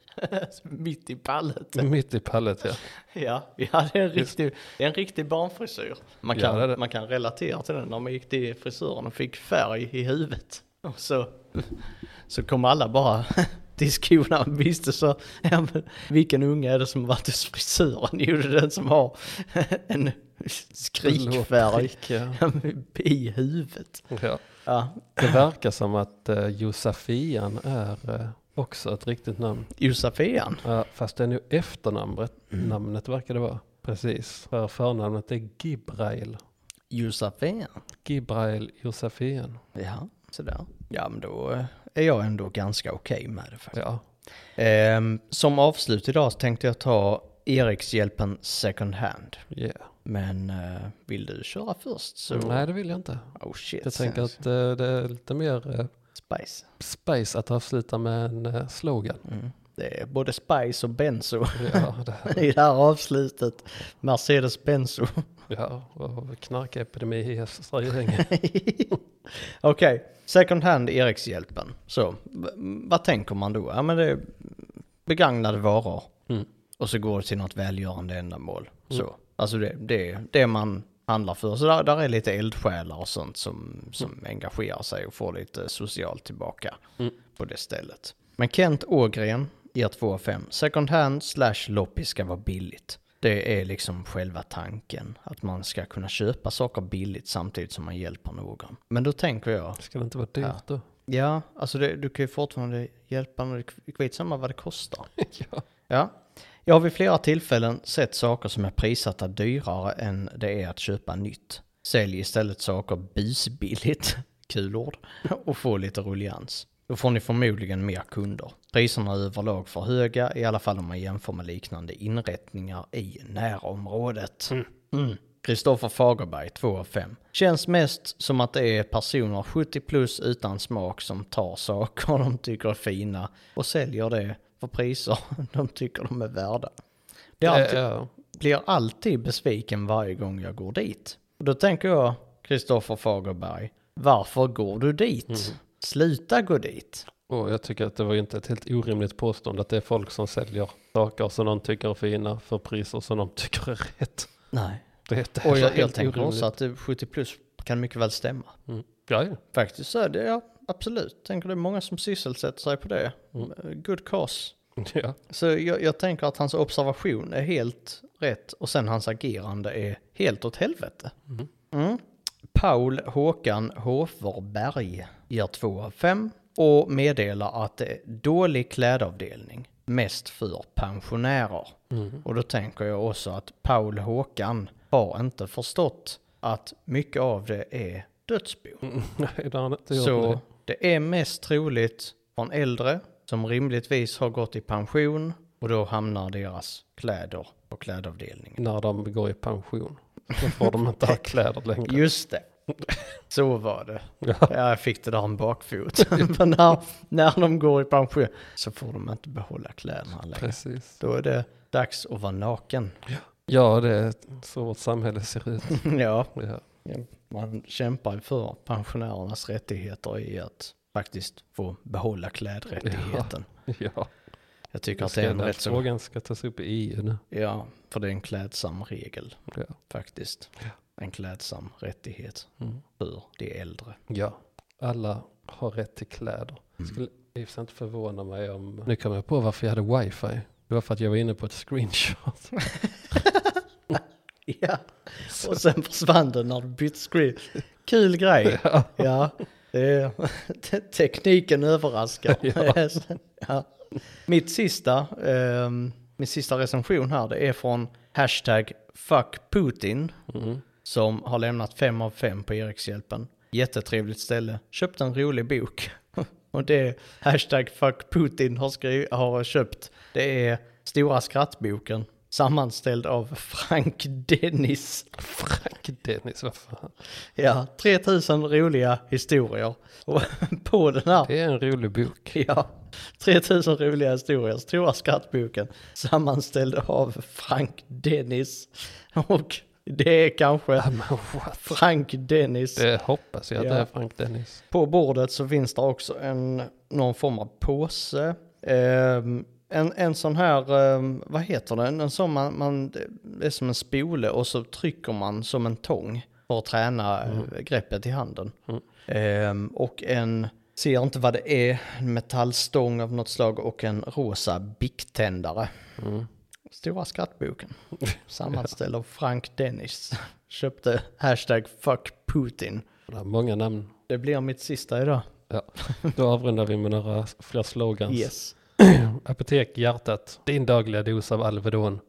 Speaker 2: Mitt i pallet.
Speaker 1: Mitt i pallet ja.
Speaker 2: <laughs> Ja, ja det, är en riktig, det är en riktig barnfrisyr. Man
Speaker 1: Ja,
Speaker 2: kan,
Speaker 1: det är det.
Speaker 2: man kan relatera till den när man gick till frisören och fick färg i huvudet. Och så, så kom alla bara <laughs> till skolan och visste så, ja, men, vilken unge är det som har varit hos frisören? Jo, det är den som har <laughs> en
Speaker 1: Blå
Speaker 2: skrikfärg
Speaker 1: prick, ja.
Speaker 2: ja, men, i huvudet.
Speaker 1: Ja.
Speaker 2: Ja,
Speaker 1: Det verkar som att eh, Josafian är eh, också ett riktigt namn.
Speaker 2: Josafian.
Speaker 1: Ja, fast det är nu efternamnet namnet verkar det vara. Precis. För förnamnet är Gibrail.
Speaker 2: Josafian.
Speaker 1: Gibrail Josafian.
Speaker 2: Ja, sådär. Ja, men då eh, är jag ändå ganska okej med det faktiskt.
Speaker 1: Ja.
Speaker 2: Ehm, som avslut idag så tänkte jag ta Erikshjälpen second hand.
Speaker 1: Yeah.
Speaker 2: Men eh, vill du köra först så...
Speaker 1: Mm, Nej, det vill jag inte.
Speaker 2: Oh shit.
Speaker 1: Jag tänker att eh, det är lite mer eh,
Speaker 2: Spice.
Speaker 1: space att avsluta med en eh, slogan.
Speaker 2: Mm. Det är både Spice och Benzo <laughs>
Speaker 1: Ja, det här,
Speaker 2: i det här avslutet. Mercedes Benzo. <laughs>
Speaker 1: ja och knarkepidemi i Östra Göinge.
Speaker 2: Okej, second hand Erikshjälpen. Så, v- vad tänker man då? Ja men det är begagnade varor.
Speaker 1: Mm.
Speaker 2: Och så går det till något välgörande ändamål. Så, alltså det, det, det man handlar för. Så där, där är lite eldsjälar och sånt som, som engagerar sig och får lite socialt tillbaka
Speaker 1: Mm.
Speaker 2: på det stället. Men Kent Ågren ger 2 av 5. Second hand slash loppis ska vara billigt. Det är liksom själva tanken. Att man ska kunna köpa saker billigt samtidigt som man hjälper någon. Men då tänker jag,
Speaker 1: Ska det inte vara dyrt då? <laughs>
Speaker 2: ja, alltså det, du kan ju fortfarande hjälpa när det är kvitt samma vad det kostar.
Speaker 1: ja.
Speaker 2: Ja. Jag har vid flera tillfällen sett saker som är prissatta dyrare än det är att köpa nytt. Sälj istället saker busbilligt, <laughs> kul ord, och få lite ruljans. Då får ni förmodligen mer kunder. Priserna är överlag för höga, i alla fall om man jämför med liknande inrättningar i närområdet. Mm. Kristoffer Fagerberg, 2 av 5. Känns mest som att det är personer 70 plus utan smak som tar saker <laughs> de tycker är fina och säljer det för priser <laughs> de tycker de är värda. Det är
Speaker 1: Eh,
Speaker 2: alltid,
Speaker 1: ja.
Speaker 2: blir alltid besviken varje gång jag går dit. Och Då tänker jag, Kristoffer Fagerberg, varför går du dit?
Speaker 1: Mhm.
Speaker 2: Sluta gå dit.
Speaker 1: Och jag tycker att det var ju inte ett helt orimligt påstående att det är folk som säljer saker som de tycker är fina för priser som de tycker är rätt.
Speaker 2: Nej.
Speaker 1: <laughs> Det är inte
Speaker 2: Och
Speaker 1: heller
Speaker 2: jag, jag
Speaker 1: helt
Speaker 2: tänker
Speaker 1: orimligt.
Speaker 2: också att eh, 70 plus kan mycket väl stämma.
Speaker 1: Mm. Ja, ja.
Speaker 2: Faktiskt så är det, ja. Absolut. Tänker det är många som sysselsätter sig på det. Good cause.
Speaker 1: ja.
Speaker 2: Så jag, jag tänker att hans observation är helt rätt och sen hans agerande är helt åt helvete. Mm. Paul Håkan Hoferberg ger 2 av 5 och meddelar att det är dålig klädavdelning, mest för pensionärer. Och då tänker jag också att Paul Håkan har inte förstått att mycket av det är dödsbo.
Speaker 1: Nej, det har han inte gjort.
Speaker 2: Så
Speaker 1: Så...
Speaker 2: det är mest troligt från äldre som rimligtvis har gått i pension och då hamnar deras kläder på klädavdelningen.
Speaker 1: När de går i pension. Då får
Speaker 2: <laughs>
Speaker 1: de inte ha kläder längre.
Speaker 2: Just det. Så var det.
Speaker 1: Ja.
Speaker 2: Ja, jag fick det där en bakfot. <laughs> Men när, när de går i pension så får de inte behålla kläderna längre.
Speaker 1: Precis.
Speaker 2: Då är det dags att vara naken. <laughs>
Speaker 1: Ja, det är så vårt samhälle ser ut.
Speaker 2: Ja,
Speaker 1: Ja.
Speaker 2: man kämpar ju för pensionärernas rättigheter i att faktiskt få behålla klädrättigheten.
Speaker 1: ja.
Speaker 2: Jag tycker att det är en
Speaker 1: Den
Speaker 2: rätt så
Speaker 1: frågan ska tas upp i EU nu.
Speaker 2: Ja, för det är en klädsam regel
Speaker 1: Ja.
Speaker 2: faktiskt. En klädsam rättighet
Speaker 1: Mm.
Speaker 2: för de äldre.
Speaker 1: ja. Alla har rätt till kläder. Skulle i och för sig inte förvåna mig om... Nu kom jag på varför jag hade wifi. Det var för att jag var inne på ett screenshot.
Speaker 2: <laughs> Ja, och sen försvann den när du bytte screen. Kul grej.
Speaker 1: <laughs> Ja.
Speaker 2: Ja, det är, <laughs> tekniken överraskar.
Speaker 1: <laughs> Ja.
Speaker 2: <laughs> Ja. Mitt sista, ehm, min sista recension här, det är från hashtag fuck Putin
Speaker 1: Mm.
Speaker 2: som har lämnat fem av fem på Erikshjälpen. Jättetrevligt ställe, köpte en rolig bok. <laughs> Och det hashtag fuck Putin har, skriv, har köpt, det är Stora skrattboken, sammanställd av Frank Dennis.
Speaker 1: Frank <laughs> Dennis, vad fan.
Speaker 2: Ja, 3000 roliga historier. Och <laughs> på den här
Speaker 1: Det är en rolig bok.
Speaker 2: Ja, 3000 roliga historier, stora skrattboken, sammanställd av Frank Dennis. Och det är kanske
Speaker 1: Ja, men <laughs> what?
Speaker 2: Frank Dennis.
Speaker 1: Det hoppas jag att
Speaker 2: Ja.
Speaker 1: det är Frank Dennis.
Speaker 2: På bordet så finns det också en, någon form av påse. Ehm, en, en sån här, ehm, vad heter den? En sån man, man, det är som en spole och så trycker man som en tång för att träna eh, greppet i handen. Ehm, och en, ser inte vad det är, en metallstång av något slag och en rosa bicktändare. Stora skrattboken. Sammanställd av Frank Dennis. Köpte hashtag fuck Putin.
Speaker 1: Det har många namn.
Speaker 2: Det blir mitt sista idag.
Speaker 1: Ja. Då avrundar vi med några fler slogans.
Speaker 2: Yes.
Speaker 1: Apotek hjärtat, din dagliga dos av <laughs> Alvedon.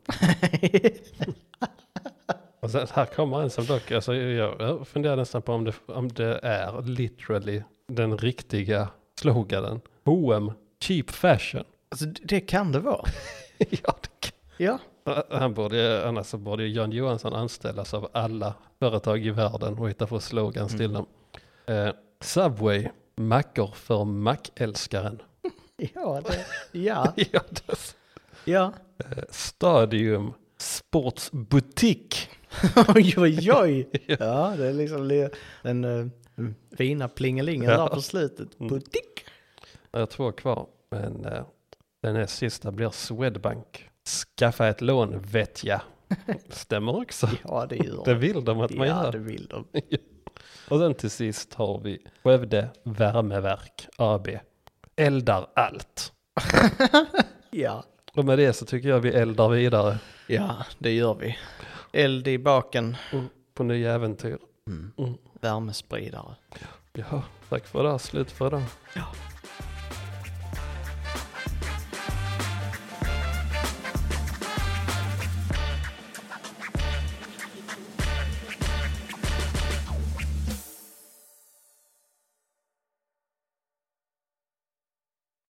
Speaker 1: Och sen, här kommer en som dock, alltså, jag jag funderar nästan på om det, om det är literally den riktiga sloganen. H&M cheap fashion.
Speaker 2: Alltså, d- det kan det vara.
Speaker 1: <laughs> ja, det kan-
Speaker 2: <laughs> Ja.
Speaker 1: han borde, annars så borde ju Jan Johansson anställas av alla företag i världen och hitta på slogans till dem. Eh, Subway, mackor för mackälskaren.
Speaker 2: Ja, det, ja,
Speaker 1: ja, det-
Speaker 2: <laughs> ja.
Speaker 1: Stadium Sportsbutik.
Speaker 2: Oj, oj, oj. <laughs> Ja, det är liksom li- den eh, fina plingelingen där på slutet. Butik.
Speaker 1: Jag har två kvar, men eh, den här sista blir Swedbank. Skaffa ett lån vet jag. Stämmer också.
Speaker 2: Ja, det gör
Speaker 1: Det vill de att man
Speaker 2: Ja,
Speaker 1: gör.
Speaker 2: det vill de.
Speaker 1: <laughs> Och sen till sist har vi Skövde Värmeverk AB. Eldar allt.
Speaker 2: Ja.
Speaker 1: Och med det så tycker jag vi eldar vidare
Speaker 2: ja, det gör vi. Eld i baken,
Speaker 1: på nya äventyr.
Speaker 2: Mm. värmespridare.
Speaker 1: Ja, tack för det. Slut för idag.
Speaker 2: Ja,